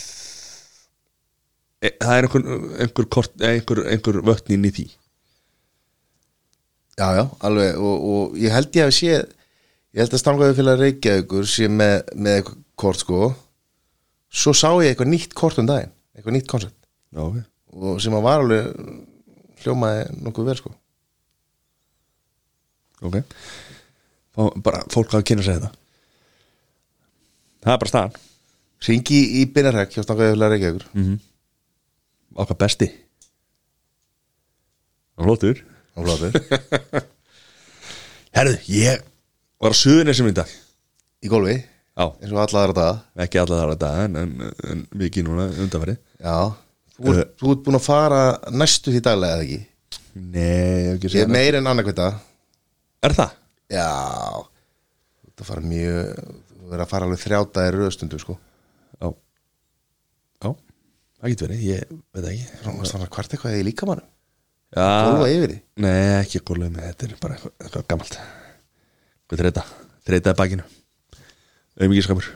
B: E, Það er einhver, einhver, kort, eh, einhver, einhver vötn inn í því
A: Já, já, alveg og, og ég held ég að sé ég held að stangaðu fyrir að reykja ykkur sé með, með eitthvað kort sko svo sá ég eitthvað nýtt kort um daginn eitthvað nýtt koncept
B: Já, ok
A: og sem að var alveg hljómaði nokkuð vel sko
B: Ok Fá, Bara fólk að kynna sér þetta Það er bara staðan
A: Ringi í Binarhæk hjá stangaðu fyrir að reykja ykkur
B: Okkar besti Flótur
A: og flottur,
B: Herðu, ég var á suðunisum í dag
A: í golfi
B: Já,
A: eins og alla aðra daga
B: ekki alla þar að dag en, en, en mikið núna undanfæri
A: Já, þú, uh. þú ert búin að fara næstu því daglega eða ekki
B: Nei, ekki
A: ég er meir en annarkvita
B: Er það?
A: Já, þú ert að fara mjög þú verður að fara alveg þrjátaði röðstundu sko
B: Já Já, það getur verið, ég veit það ekki
A: Þannig að hvart eitthvað í líkamannum Gólfa
B: Já,
A: yfir því
B: nei, ekki gólfið með þetta er bara eitthvað, eitthvað gamalt Hvað þreita? Þreitaði bakinu Auðmyggiskapur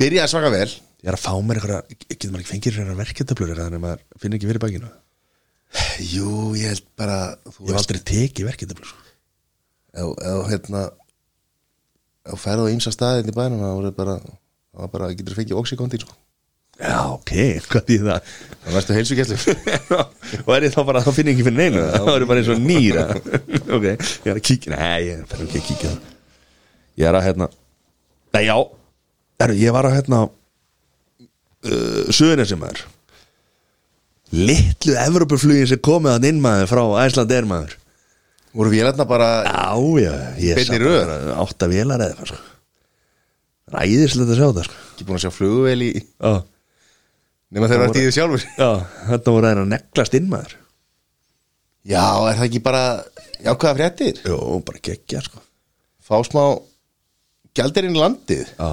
A: Byrjaði svaka vel
B: Ég er að fá mér eitthvað, getur maður ekki fengið eitthvað verkeftablur eitthvað þannig að maður finnir ekki fyrir bakinu
A: Jú, ég held bara Þú
B: Ég hef aldrei tekið sko. verkeftablur
A: Ef ef, hérna Ef þú ferðu á ýmsa staði hérna í bænum Það voru bara Það var bara Getur fengið oxykondin sko
B: Já, ok, hvað því það?
A: Það verður heilsugjæslu
B: og er ég þá bara, þá finn ég ekki fyrir neina þá er ég bara eins og nýra ok, ég er að kíkja, nei, ég fer ekki að kíkja það. ég er að hérna nei, já, er, ég var að hérna uh, söðuna sem maður litlu Evrópuflugin sem komið að inn maður frá Æsland er maður
A: Voru vélarna bara
B: já, já, ég
A: Beinni röð.
B: átta vélar eða eitthvað, sko ræðislega að sjá það, sko
A: Ekki búin að sjá flugvel í
B: já,
A: Nefna þeir
B: Það
A: eru að
B: voru-
A: dýðu sjálfur
B: já þetta voru að neglast inn maður
A: Já, er það ekki bara Jákvæða fréttir
B: jú, bara geggja, sko
A: Fá smá Gjaldirinn í landið
B: Já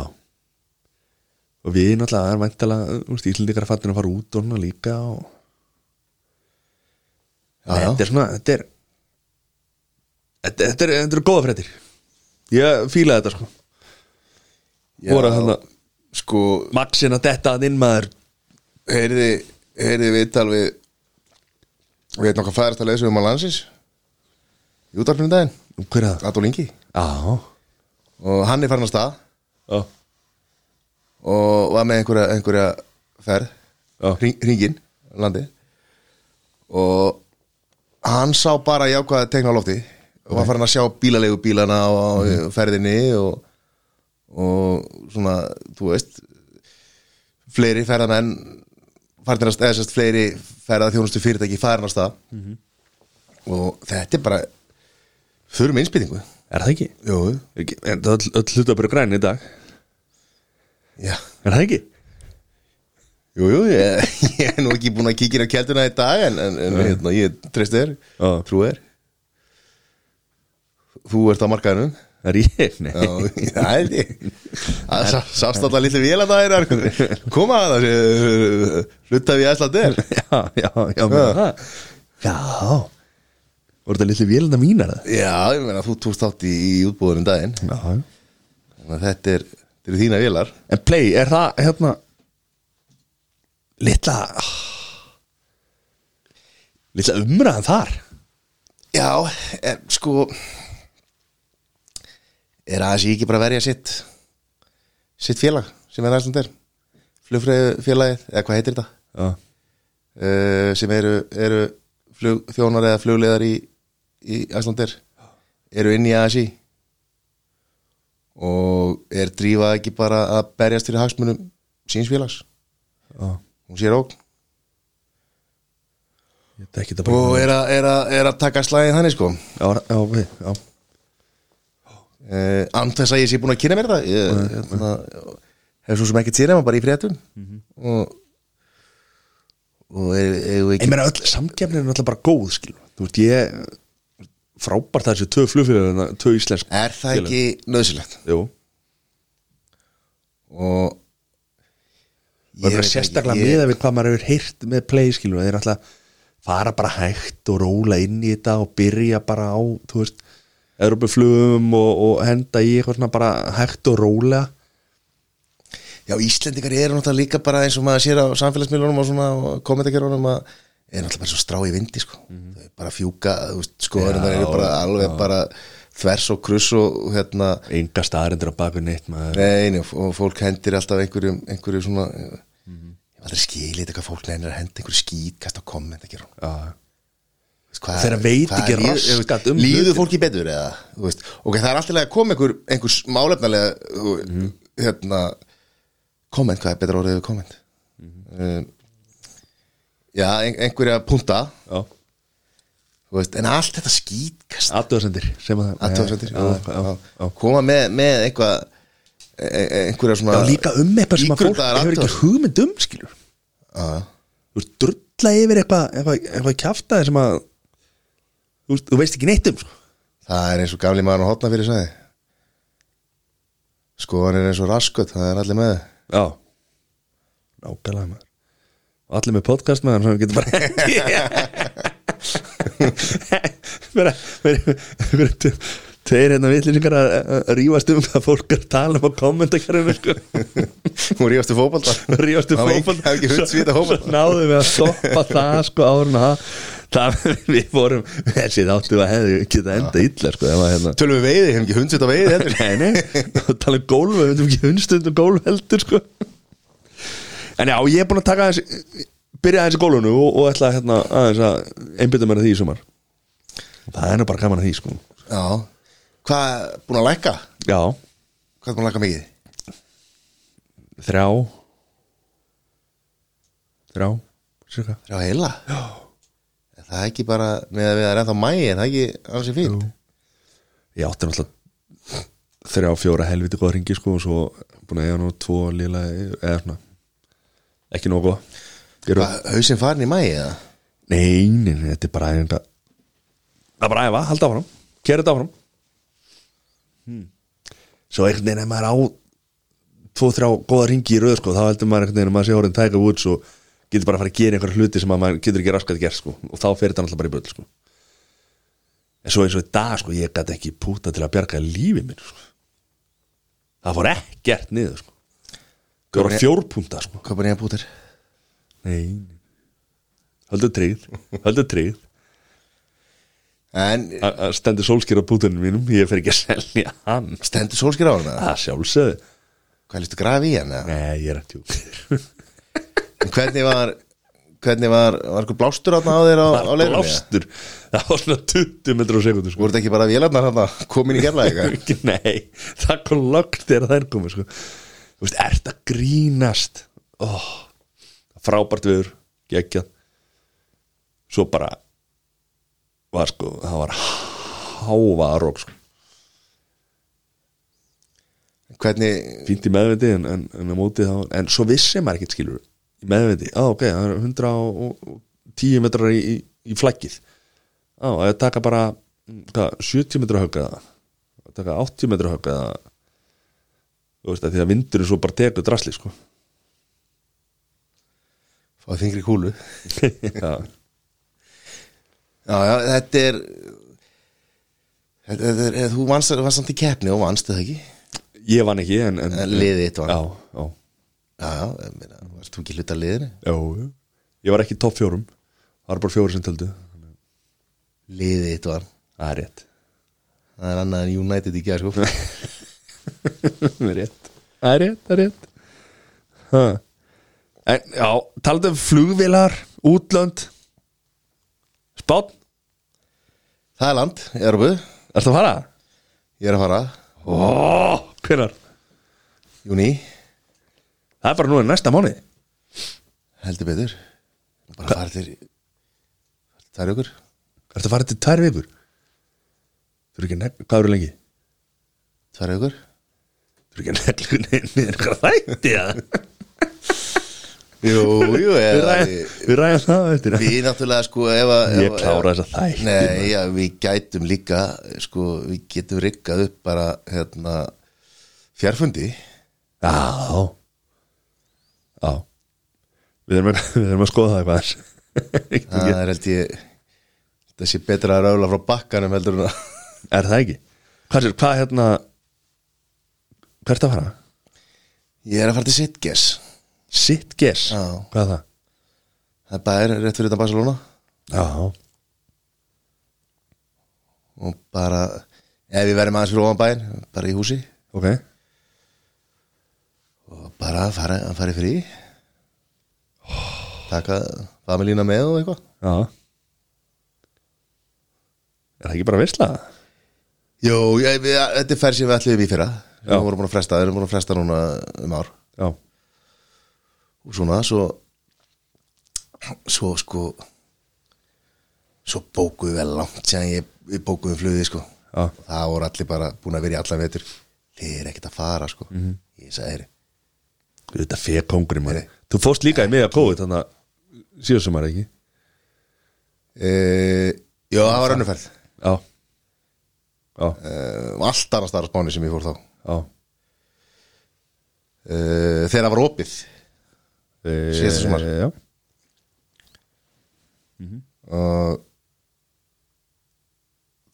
B: Og við náttúrulega erum væntalega úst, Íslendingar að fattin að fara út og hana líka og...
A: Já,
B: Nei,
A: já.
B: Þetta er svona Þetta er Þetta, þetta, er, þetta er góða fréttir Ég fílaði þetta sko
A: Já,
B: Voru að þarna-
A: Sko
B: Maxin að detta að inn maður
A: Heyrði Heyrði viðtal við Við erum nokkað fæðast að leysa um að landsins Í útvarpinu um daginn
B: Hver er það?
A: Adolf Ingi
B: Já
A: og hann er farin að stað
B: Já
A: og var með einhverja, einhverja ferð
B: Já.
A: hring, hringin, landi og hann sá bara jákvæða tegna á lofti og var farin að sjá bílalegu bílana á á ferðinni og, og svona, þú veist fleiri ferðamenn farin að stað, eða sérst fleiri ferða þjónustu fyrirtæki farin að stað og þetta er bara þurfum innspýtingu
B: Er það ekki?
A: Jú,
B: Er ekki- er Þetta öll, öll hlutabur græn í dag
A: já
B: Er það ekki?
A: Jú, jú, ég, ég er nú ekki búin að kíkja á kjalduna í dag en, en, en hérna, ég treyst þér,
B: Já.
A: trú þér Þú ert á markaðinu
B: Er ég? Nei
A: Já, það er því Sást alltaf lítið vél að það er Koma að það sé Hluta við æsla þér
B: Já, já, já, meina það. já. Voru þetta litlu vélina mínar það?
A: Já, ég meina, þú tókst átt í, í útbúðunum daginn
B: Já, já
A: Þannig að þetta er, þetta er þína vélar
B: En play, er það hérna Litla ah, Litla umræðan þar
A: Já, er, sko er aðeins ég ekki bara að verja sitt sitt félag sem er æsland er flugfélagið, eða hvað heitir þetta
B: Já,
A: uh, sem eru, eru flugþjónar eða flugleðar í, í æsland er eru inn í ASI og er drífað ekki bara að berjast fyrir hagsmunum sínsfélags
B: Já.
A: hún sér ógn
B: Ég tekki þetta
A: og
B: bara
A: er að, er að, er að taka slæðin þannig sko
B: Já, já, ok, já
A: uh, and þess að ég sé búin að kynna mér það ég, hérna, hef svo sem ekki týrnum bara í fréttum og, og er, er,
B: Ég
A: ekki,
B: meina öll, samkefnin er náttúrulega bara góð, skilur Þú veist, ég Frábært að þessu tvö flugfélagina, tvö íslensk
A: er það ekki nöðsilegt
B: Jú,
A: og
B: það er
A: veit
B: bara sérstaklega
A: ekki, ég-
B: miða við hvað maður hefur heyrt með play, skilur Þeir náttúrulega fara bara hægt og róla inn í þetta og byrja bara á, þú veist Europaflugum og, og henda í eitthvað svona bara hægt og róla
A: Já, Íslendingar eru náttúrulega líka bara eins og maður sér á samfélagsmiðlunum og svona kommentarkerunum að er náttúrulega bara svo strá í vindi sko. þau er bara að fjúka, þú veist, skoðurinn það eru bara alveg bara þvers og kruss og hérna,
B: Enga staðarindur á baku neitt maður
A: nein og og fólk hendir alltaf einhverjum, einhverju svona ég var aldrei skilið þetta hvað fólk neynir að henda einhverju skítkast á kommentarkerunum
B: Já,
A: Hvað,
B: Þeirra veit
A: hvað
B: ekki
A: líður-
B: raskat um
A: Líður
B: hlutina.
A: fólki betur eða þú veist, Ok, það er alltaf að koma einhver, einhver málefnalega
B: Mhm.
A: mm. hérna, komment, hvað er betra orðið við komment
B: Mhm.
A: um, Já, ein, einhverja punta
B: já
A: þú veist, En allt þetta skýtkast
B: Atjóðsendir, sem að
A: athugasemdir,
B: Já,
A: jú,
B: já, já.
A: já. Koma með, með eitthvað e- e- einhverja svona
B: Já, líka um eitthvað sem að fólk
A: Ígrundaðar
B: hefur ekki
A: athugasemdir.
B: hugmynd um, skilur
A: Já, já.
B: Þú veist, drulla yfir eitthvað eitthvað, eitthvað kjaftaði sem að þú, veist, þú veist ekki neitt um sko.
A: Það er eins og gamli maður á hotna fyrir sæði Skoðan er eins og raskat Það er allir með það
B: Já Nákvæmlega maður Og allir með podcast maður sem getur bara Mér er Tveir hérna vitlýsingar að að rífast um hvað fólk er að tala um á kommentarkerfinu sko.
A: Hún rífastu fótbolta
B: Rífast um
A: Það var ekki-
B: fótbolta.
A: það var ekki hundsvita
B: Svo-
A: fótbolta.
B: Svo náðum við að stoppa það sko árun að það við fórum þessi þáttu að hefði geta enda illa sko ef að hérna
A: Tölum við veiði, hefum ekki hundsvita veiði heldur
B: Nei, nei, og tala um gólf við veitum ekki hundstund um gólf heldur sko. En já, ég er búin að taka aðeins, byrja aðeins í gólfinu og, og ætla hérna, aðeins að einbytta mér að því í sumar Það er nú bara gaman að því sko.
A: Já Hvað, búin að lækka?
B: Já,
A: Hvað er búin að lækka mikið?
B: þrjá Þrjá Sjöka
A: Þrjá heila? Já Það er ekki bara, með að við erum ennþá mæi en það er ekki alls í fínt
B: Ég átti náttúrulega þrjá, fjóra helviti góða ringi sko, og svo búin að eiga nú tvo lila eða svona ekki nógu góða. Ég er-
A: Hvað, hausinn farin í mæi eða?
B: Nei, nei, nei, þetta er bara einhverja Það er bara æfa, halda áfram Kera þetta áfram hmm. Svo einhvern veginn ef maður á Tvo, þrjá góða ringi í röð sko, Þá heldur maður einhvern veginn að maður sé orðin tæka út Svo getur bara að fara að gera einhverja hluti Sem að maður getur ekki raskat gert sko, Og þá fer þetta náttúrulega bara í böll sko. En svo eins og í dag sko, Ég gat ekki púta til að bjarga lífi minn sko. Það fór ekkert niður sko. Það voru fjórpunta sko.
A: Hvað búin ég að búið þér?
B: Nei Höldu tryggð, höldu tryggð
A: En
B: að að stendur sólskýr á pútunum mínum ég fer ekki að selja hann
A: stendur sólskir á hana?
B: það sjálfsögðu
A: Hvað lístu graf í hana?
B: nei, ég er að tjúk
A: En hvernig var, hvernig var, var eitthvað blástur hana á þér á, á leiðinu?
B: blástur, það var svona 20 metrar á sekundu sko.
A: Voru þetta ekki bara vélarnar hana komin í gerla eitthvað?
B: nei, það kom lokt þegar það er komið sko. þú veist, ert að grínast oh, frábært viður geggjað svo bara var sko, það var háfa að rók sko.
A: Hvernig,
B: fínt í meðviti en, en, en á móti þá, en svo vissi maður ekkert skilur í meðviti, á ok, það eru 110 metrar í, í, í flaggið á, að ég taka bara mm, hvað, 70 metra högg eða að taka 80 metra högg eða þú veist að því að vindurinn svo bara tekur drasli sko
A: fá þingri kúlu?
B: já,
A: Já, já, þetta er þetta þetta er, þú vannst, þú vannst samt í keppni og vannst það ekki
B: ég vann ekki en, en,
A: En liðið þitt vann.
B: já, já,
A: Já, já, ég meina, varst þú ekki hluta af liðinu?
B: já, já, ég var ekki í topp fjórum það var bara fjórum sem töldu
A: Liðið þitt var
B: það er rétt
A: Það er annað en United í gær, sko
B: Það er rétt Það er rétt, það er rétt ha. En já, talaðu um flugvilar Útlönd Spán,
A: Það er land, Európu
B: ertu að fara?
A: Ég er að fara
B: Ó, Hvenar?
A: Júni,
B: Það er bara nú í næsta mánu
A: heldur betur Bara fara til Það er ykkur
B: Ertu að fara til tvær vikur? Þú eru ekki að nefn, hvað eru lengi?
A: Það er ykkur
B: Þú eru ekki að neglu niður niður hvað þætti að
A: Jú, jú,
B: Við
A: eða
B: ræðum- Við ræðum það á eftir
A: Við náttúrulega sko ef að
B: Ég
A: ef að-
B: klára þessa þætti,
A: Nei, já, við gætum líka sko, við getum rikkað upp bara hérna, fjárfundi
B: Já Já Við erum að, við erum að skoða það eitthvað aðeins.
A: það er held ég það sé betra að rála frá bakkanum heldur en að
B: Er það ekki? Hvað, er, hvað hérna Hvert að fara?
A: ég er að fara til Sitges
B: Sitges
A: Já.
B: Hvað er það?
A: það er bara rétt fyrir þetta Barcelona
B: Já
A: og bara ef við verðum aðeins fyrir ofan bæinn bara í húsi
B: Ok
A: og bara að fara, að fara í frí taka familína með og eitthvað
B: Já Er það ekki bara veistla?
A: Jó, ég, við, þetta er ferð sem við ætlum í fyrra
B: Já.
A: Við vorum búin að fresta, við erum búin að fresta núna um ár
B: Já
A: Og svona, svo Svo sko Svo bókuðum við vel langt Sér ég, við bókuðum flugði sko
B: Já
A: Og Það voru allir bara búin að vera í allan vetur Þið er ekkert að fara sko Ég sagði þeirri
B: Þetta feg kongurinn maður Þú fórst líka í mig að kóðu þannig að síðusumar ekki
A: e, Jó, það var önnurferð
B: Já Já,
A: e, Allt annars þar á spáni sem ég fór þá
B: já
A: e, Þegar það var opið
B: E,
A: Síðasta sumar.
B: Já,
A: og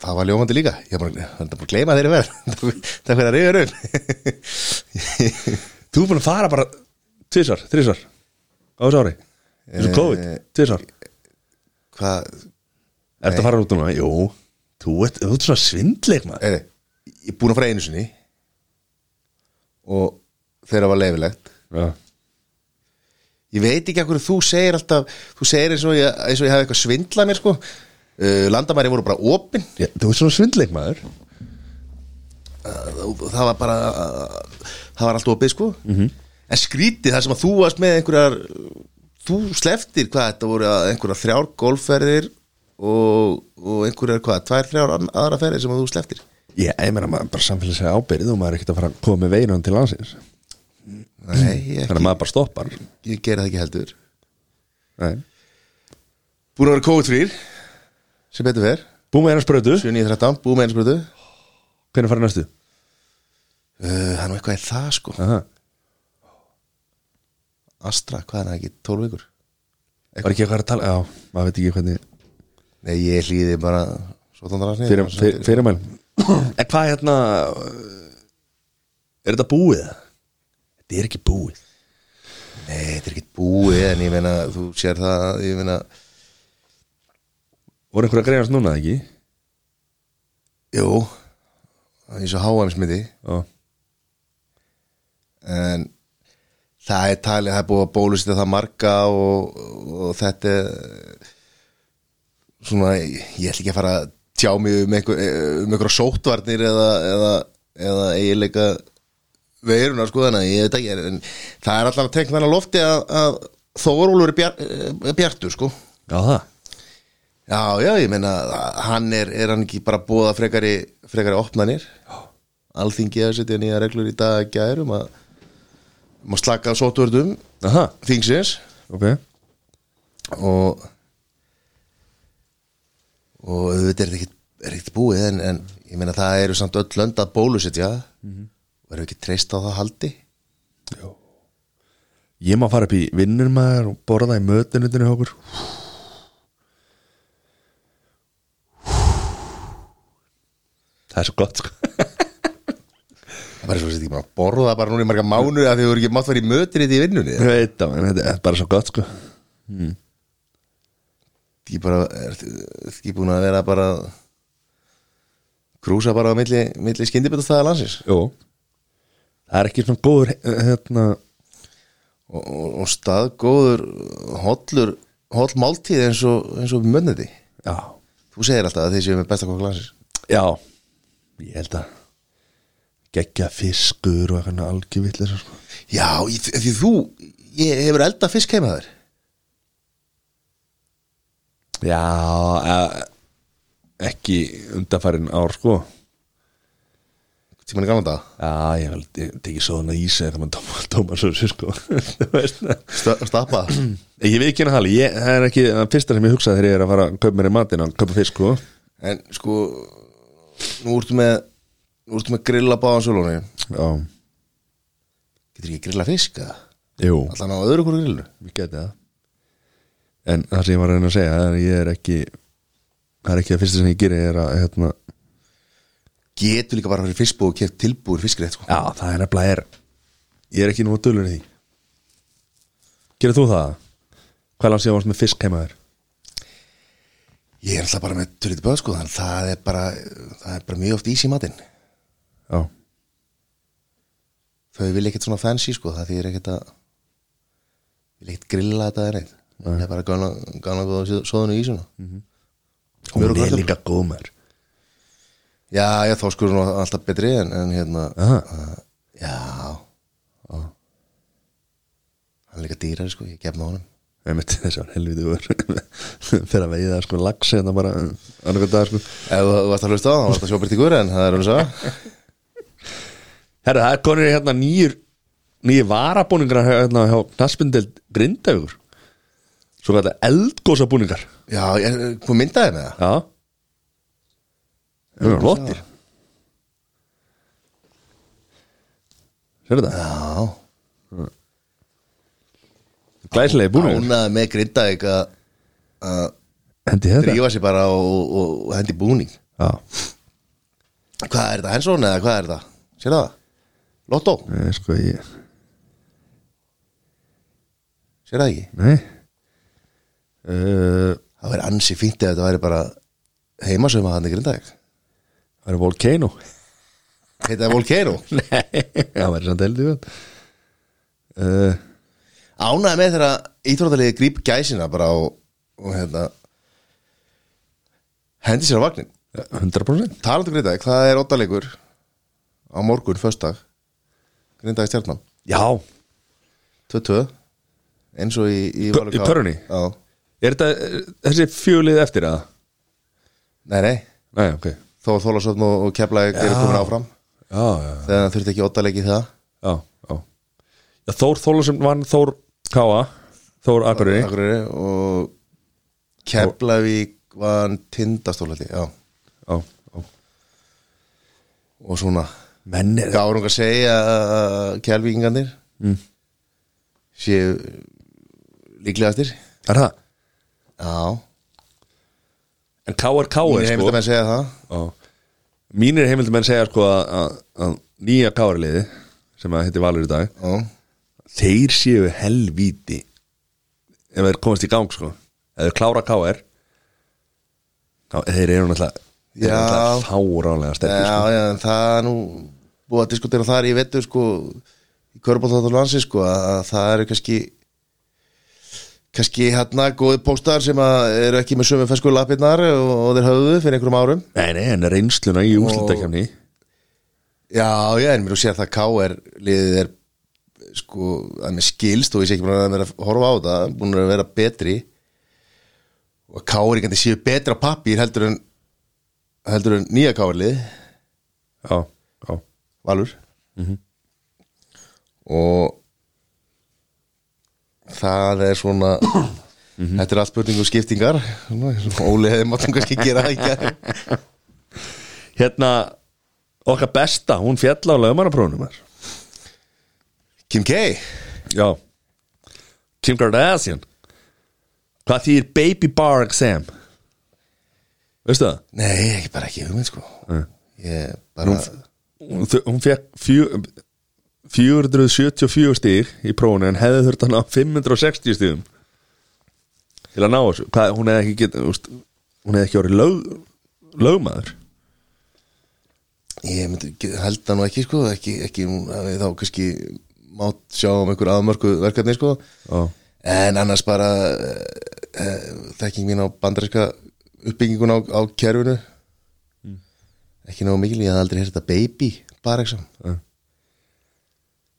A: það var ljómandi líka ég var bara, var bara að gleyma þeirri verð það fyrir að reyður um
B: Þú er búin að fara bara tvisar, þrisar á þessu ári þessu COVID, tvisar
A: hvað,
B: Er þetta að fara út núna? Jú, þú ert, þú ert svona svindleik maður
A: er, ég er búin að fara einu sinni og þeirra var leifilegt
B: Já,
A: ég veit ekki að hverju þú segir alltaf þú segir eins og ég, eins og ég hafi eitthvað svindlað mér sko Uh, landamæri voru bara opin
B: Já, þú ert svona svindleik maður
A: það það var bara það var allt opið sko -hmm. en skrítið það sem að þú varst með einhverjar þú sleftir hvað þetta voru að einhverjar þrjár golfferðir og, og einhverjar hvað tvær þrjár ann- aðra ferðir sem að þú sleftir
B: Já, ég meina maður bara samfélagslega ábyrð og maður er ekkert að fara að koma með veinan til landsins
A: nei, ég,
B: Þannig að maður bara stoppar
A: ég gera það ekki heldur
B: Nei.
A: búin að vera COVID frýr sem betur fer,
B: Búið með eina sprötu,
A: 7.9.13 búið með einsbröðu
B: hvernig fara næstu?
A: uh, það er nú eitthvað er það sko
B: Aha.
A: Astra, hvað er það ekki, 12 vikur
B: Var ekki eitthvað að tala, já, maður veit ekki hvernig
A: nei, ég hlýði bara svo tóndar að snið
B: fyrir, fyrir, fyrirmæl En hvað hérna Er þetta búið? Þetta er ekki búið
A: Nei, þetta er ekkert búið en ég meina, þú sér það ég meina,
B: Voru einhverja að greiðast núna, ekki?
A: jú eins og HM smiti
B: Já,
A: en það er talið, það er búið að bólusita það marga og, og þetta er svona, ég ætla ekki að fara að tjá mig um, einhver, um einhverja sóttvarnir eða, eða, eða eiginleika veiruna sko þannig, að ég veit ekki en það er allan að tekna þannig að lofti að, að Þórólfur er bjar, bjartur sko
B: já það
A: Já, já, ég meina hann er, er hann ekki bara búið að frekari frekari opnanir Alþingi að setja nýja reglur í dag gærum að, um að slaka á sótvörðum
B: Aha,
A: þingsins
B: ok
A: og og auðvitað er þetta ekki, er ekki búið en, en ég meina það eru samt öll lönd að bólusetja mm -hmm. verður ekki treyst á það haldi
B: Ég má fara upp í vinnur maður og borða í mötunutinu hjá okkur Það er svo gott sko
A: það er bara svo að setja ekki bara að borða bara núna í marga mánu að þau eru ekki mátt verið í mötir í vinnunni
B: Ég veit það, en þetta er bara svo gott sko
A: ekki bara er, er ekki búin að vera bara krúsa bara á milli, milli skyndibötu það landsins
B: Jó Það er ekki svona góður eh, hérna
A: og, og, og staðgóður hollur, holl máltíð eins og, eins og mönniti
B: Já,
A: þú segir alltaf að þeir séu með besta kokk landsins
B: já Ég held að geggja fiskur og eitthvað algjörvillir sko.
A: Já, ég- því því þú ég hefur elda fisk heima þér
B: Já, eh, ekki undanfærin ár sko
A: Tímann í gamla dag
B: Já, ég hef tekið svona ís eða það maður tóma svo sér sko Þú veist það
A: Sta- Stappa
B: Ég veit ekki hérna hali, ég, það er ekki það fyrsta sem ég hugsa þegar ég er að fara að kaupa mér í matinn að kaupa fisk sko
A: En sko Nú ertu með Nú ertu með grilla báðan svolunni
B: Já,
A: Getur ekki grilla fisk eða?
B: jú,
A: Allan á öðru hvort grillu
B: ég geti það En það sem ég var að reyna að segja það er að ég er ekki það er ekki það fyrsta sem ég gerir er að hérna,
A: Getur líka bara fyrir fiskbúð og kert tilbúður fiskrétt sko.
B: Já, það er nefnilega er ég er ekki nú að dölur í því Gerir þú það? Hvað langt ég varst með fisk heima þér?
A: Ég er alltaf bara með törlítið böð sko Þannig að það er bara Það er bara mjög oft ís í matinn
B: Já,
A: Þau vil ekkert svona fancy sko Það þýðir ekkert að Vil ekkert grilla þetta er neitt Það er bara gana, gana góða svoðinu í ísuna
B: hún
A: Mjög
B: er
A: gott.
B: líka góð maður
A: Já, já, þá skur hún alltaf betri en, en hérna
B: Aha.
A: uh, Já Hann er líka dýrar sko, ég gefna honum
B: einmitt þess að helviti var fyrir að veiða sko lagsi en það bara annarkað dag sko
A: Ef þú þú varst að hlusta á, það, þá varst að sjá Byrti Guður en það er hún svo
B: Herra, það er konir hérna nýjur nýjir varabúningar hérna hjá Knaspindeld Grindavíkur svo kallar eldgósa búningar
A: Já, ég, hvað myndaði með það?
B: já það er flottir Sérðu það?
A: Já,
B: Glæsilegi búningar
A: ánaði með Grindavík að að
B: Hendi þetta?
A: drífa sér bara og, og, og hendi búning
B: Já,
A: Hvað er þetta, Hensson eða hvað er þetta? Sér það? Lotto,
B: nei, sko ég
A: sér það ekki?
B: Nei uh,
A: Það væri ansi fínt ef þetta væri bara heimasöma hann í Grindavík
B: Það er Volcano
A: Heita það Volcano
B: Nei, það væri samt heldur við uh,
A: ánæði með þegar íþrótaliði gríp gæsina bara og, og hérna hendi sér á vagnin
B: 100%
A: talandu grindaði, hvað er óttaleikur á morgun, föstdag grindaði stjarnan,
B: Já,
A: 2-2 eins og í, í,
B: Pö-
A: Valur
B: í
A: Kára.
B: pörrunni?
A: Já,
B: er þetta er þessi fjölið eftir að?
A: nei nei,
B: Nei, ok Já,
A: þó að Þólasöfn og, og keflaði eru komin áfram,
B: já,
A: þegar það þurfti ekki óttaleiki það,
B: já, já. já Þór Þólasum vann Þór Káa Þór Akureyri
A: Akureyri og keflavík var tindastólhaldi, já
B: já, já.
A: og svona
B: Menn er
A: Gárung að segja að kjálvíkingarnir
B: Mm.
A: séu líklegastir
B: Er það?
A: Já,
B: En Káar
A: hún
B: Káar
A: er
B: sko
A: heimilt að segja það
B: Já. Mínir heimildamenn segja sko að, að, að nýja Káarliði sem að hitti Valur í dag
A: Já,
B: þeir séu helvíti ef þeir komast í gang sko ef þeir klára KR þá þeir eru náttúrulega þeir
A: Já.
B: eru náttúrulega fáránlega sterkir sko.
A: já, já, en það er nú búið að diskutera þar í vetur sko í körbólþáttur landsi sko að að það eru kannski kannski hérna góði póstar sem að eru ekki með sömu fesku lapirnar og, og þeir höfðu fyrir einhverjum árum
B: nei, nei, en reynsluna í úrslutakefni
A: Já, já, en mér þú sér það K.R. liðið er sko, að mér skilst og ég sé ekki búin að vera að horfa á það, búin að vera betri og að K.R. ekki séu betra pappir heldur en heldur en nýja K.R. lið
B: já, já,
A: Valur og það er svona þetta er allt spurningu skiptingar Svona, Óli hefði máttum kannski gera það ekki
B: hérna okkar besta, hún fjall á lögmanaprónum já,
A: Kim K
B: Kim Kardashian hvað þýr baby bar exam veistu það?
A: Nei, ekki bara ekki hugmynd sko ég bara
B: hún, þau- hún fekk fjö, 474 stíg í prófunu en hefði þurft hann á 560 stígum til að ná þessu Hvað, hún hefði ekki get, úst, hún hefði ekki orðið lög, lögmaður
A: Ég myndi, ekki- held það nú ekki sko ekki, ekki hún hafi þá kannski mátt sjá um einhver aðmörku verkefni sko
B: Já.
A: en annars bara uh, þekking mín á bandarinska Mm. uppbyggingun á, á kerfinu ekki náðu mikil, ég hafði aldrei heyrt þetta baby bara ekki saman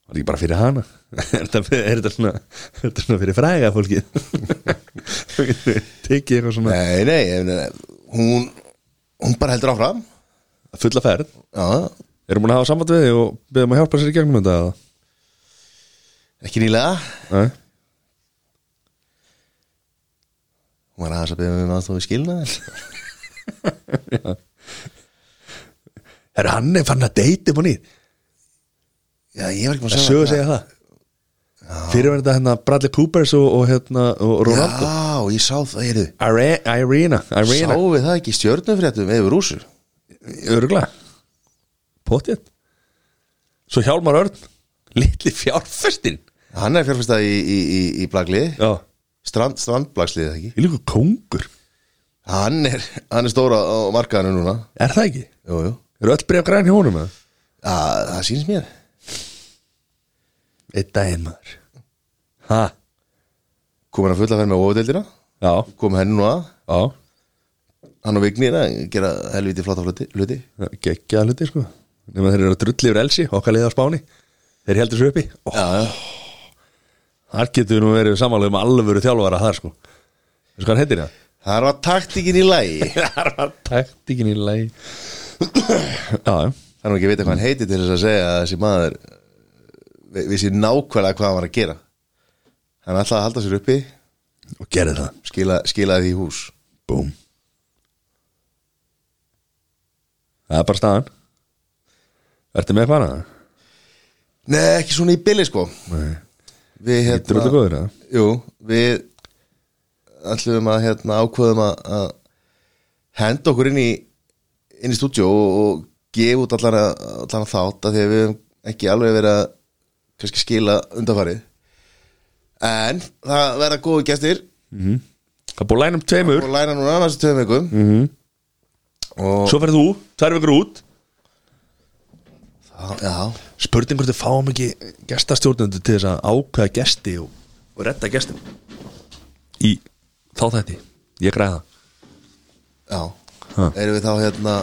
B: Var ekki bara fyrir hana Er þetta, er þetta, svona, er þetta svona fyrir fræga fólkið Tekið eitthvað svona
A: Nei, nei, ég meina, hún hún bara heldur áfram
B: Fulla ferð
A: já,
B: Erum hún að hafa samband við þig og beðum að hjálpa sér í gegnum þetta eða?
A: ekki nýlega
B: Nei,
A: hún var aðeins að byrja með aðstofa við skilnaðir
B: Er hann er fann að deyti upp á nýð
A: já, ég var ekki búin
B: Það
A: að
B: sögur
A: það.
B: segja það Fyrir verið þetta hérna Bradley Coopers og, og hérna og Ronaldo
A: já, ég sá það, heyrðu
B: Ire- Irina Irina
A: Sáum við það ekki í stjörnufréttum yfir rússu?
B: Öruglega Potið Svo Hjálmar Örn Litli fjárfestin
A: Hann er fjárfæsta í, í, í, í blaglið
B: Já
A: Strand, Strandblagslið ekki
B: Ég líka kóngur
A: Hann er, hann er stóra á markaðinu núna
B: Er það ekki?
A: Jú, jú
B: Eru öll bregð græn hjá honum eða?
A: Það, það sýns mér
B: Eitt daginn maður Ha?
A: Komur hann fulla að ferð með ofadeildina
B: Já
A: Komur henni nú að
B: Já
A: Hann og Vignir að gera helviti flotta hluti- hluti
B: Gekkjaða hluti sko Nefnum þeir eru að drulli yfir elsi Okkar liða á spáni Þeir heldur svo uppi Ó,
A: Já, já
B: Þar getur við nú verið samanlega um alvöru þjálfara þar sko Þessu hvað hann heitir það?
A: Það var taktikinn í lægi
B: Það var taktikin í lei Já, já
A: Það er nú ekki að vita hvað hann heiti til þess að segja að þessi maður vi- vissi nákvæmlega hvað hann var að gera Hann ætlaði að halda sér uppi
B: Og gerði það
A: skila, skilaði því í hús
B: Búm Það er bara staðan Ertu með hvað hana?
A: Nei, ekki svona í billi sko
B: Nei
A: Við
B: Þetta er út
A: hérna
B: að góður eða?
A: Jú, við ætlum að hérna ákvöðum að, að henda okkur inn í inn í stúdíu og, og gefa út allan að, allan að þátt að því að við höfum ekki alveg verið að kannski skila undanfarið en það verða góðu gestir
B: Það er búið að læna um tveimur
A: og læna núna næstu tveim vikum mm
B: Mhm.
A: -hmm. og
B: Svo ferð þú, tvær vikur út
A: já,
B: Spurning hvort þið fáum ekki gestastjórnendur til þess að ákveða gesti og, og retta gestum Í þá þetta Ég græða
A: já
B: Ha.
A: erum við þá hérna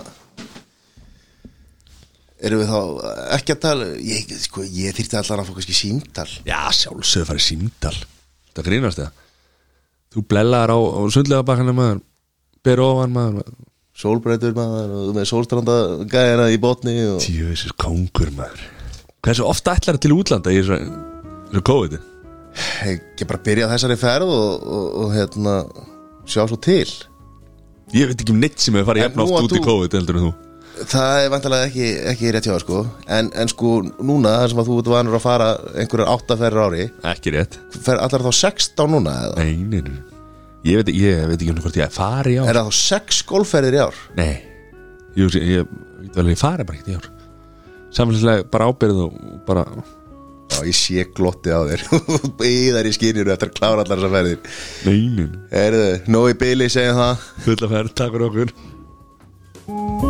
A: erum við þá ekki að tala ég, sko, ég þyrfti allan að fá kannski símtal
B: Já, sjálfsögðu farið síndal Það grínast það Þú blellaðar á, á sundlega bakkana maður Ber ofan maður
A: sólbreytur maður og með sólstranda gæðina í botni og
B: Tjóðisir kongur maður Hversu ofta ætlar til útlanda í þessu, þessu COVID-i?
A: ekki bara byrja á þessari ferð og, og, og hérna sjá svo til
B: Ég veit ekki um neitt sem hefur farið
A: En
B: jafn
A: nú að
B: oft út í
A: þú-
B: COVID heldur en þú
A: það er vantilega ekki, ekki rétt hjá þér, sko en, en sko núna þar sem að þú ert vanur að fara einhverjar áttaferður ári
B: Ekki rétt
A: fer allar þá 16 núna eða?
B: Nei, nei, nei Ég veit, ég veit ekki um hvort ég fari á
A: er það þá 6 golfferðir í ár
B: Nei Jú, ég, ég, ég veit alveg, ég fari bara ekki í ár Samfélagslega bara ábyrð og og bara
A: já ég sé glotti á þér býðar í skýrjur eftir að klára allar þessar ferðir
B: Nei, nei, nei
A: er þau, nóg í byli segjum það
B: Fulla ferð, takk fyrir okkur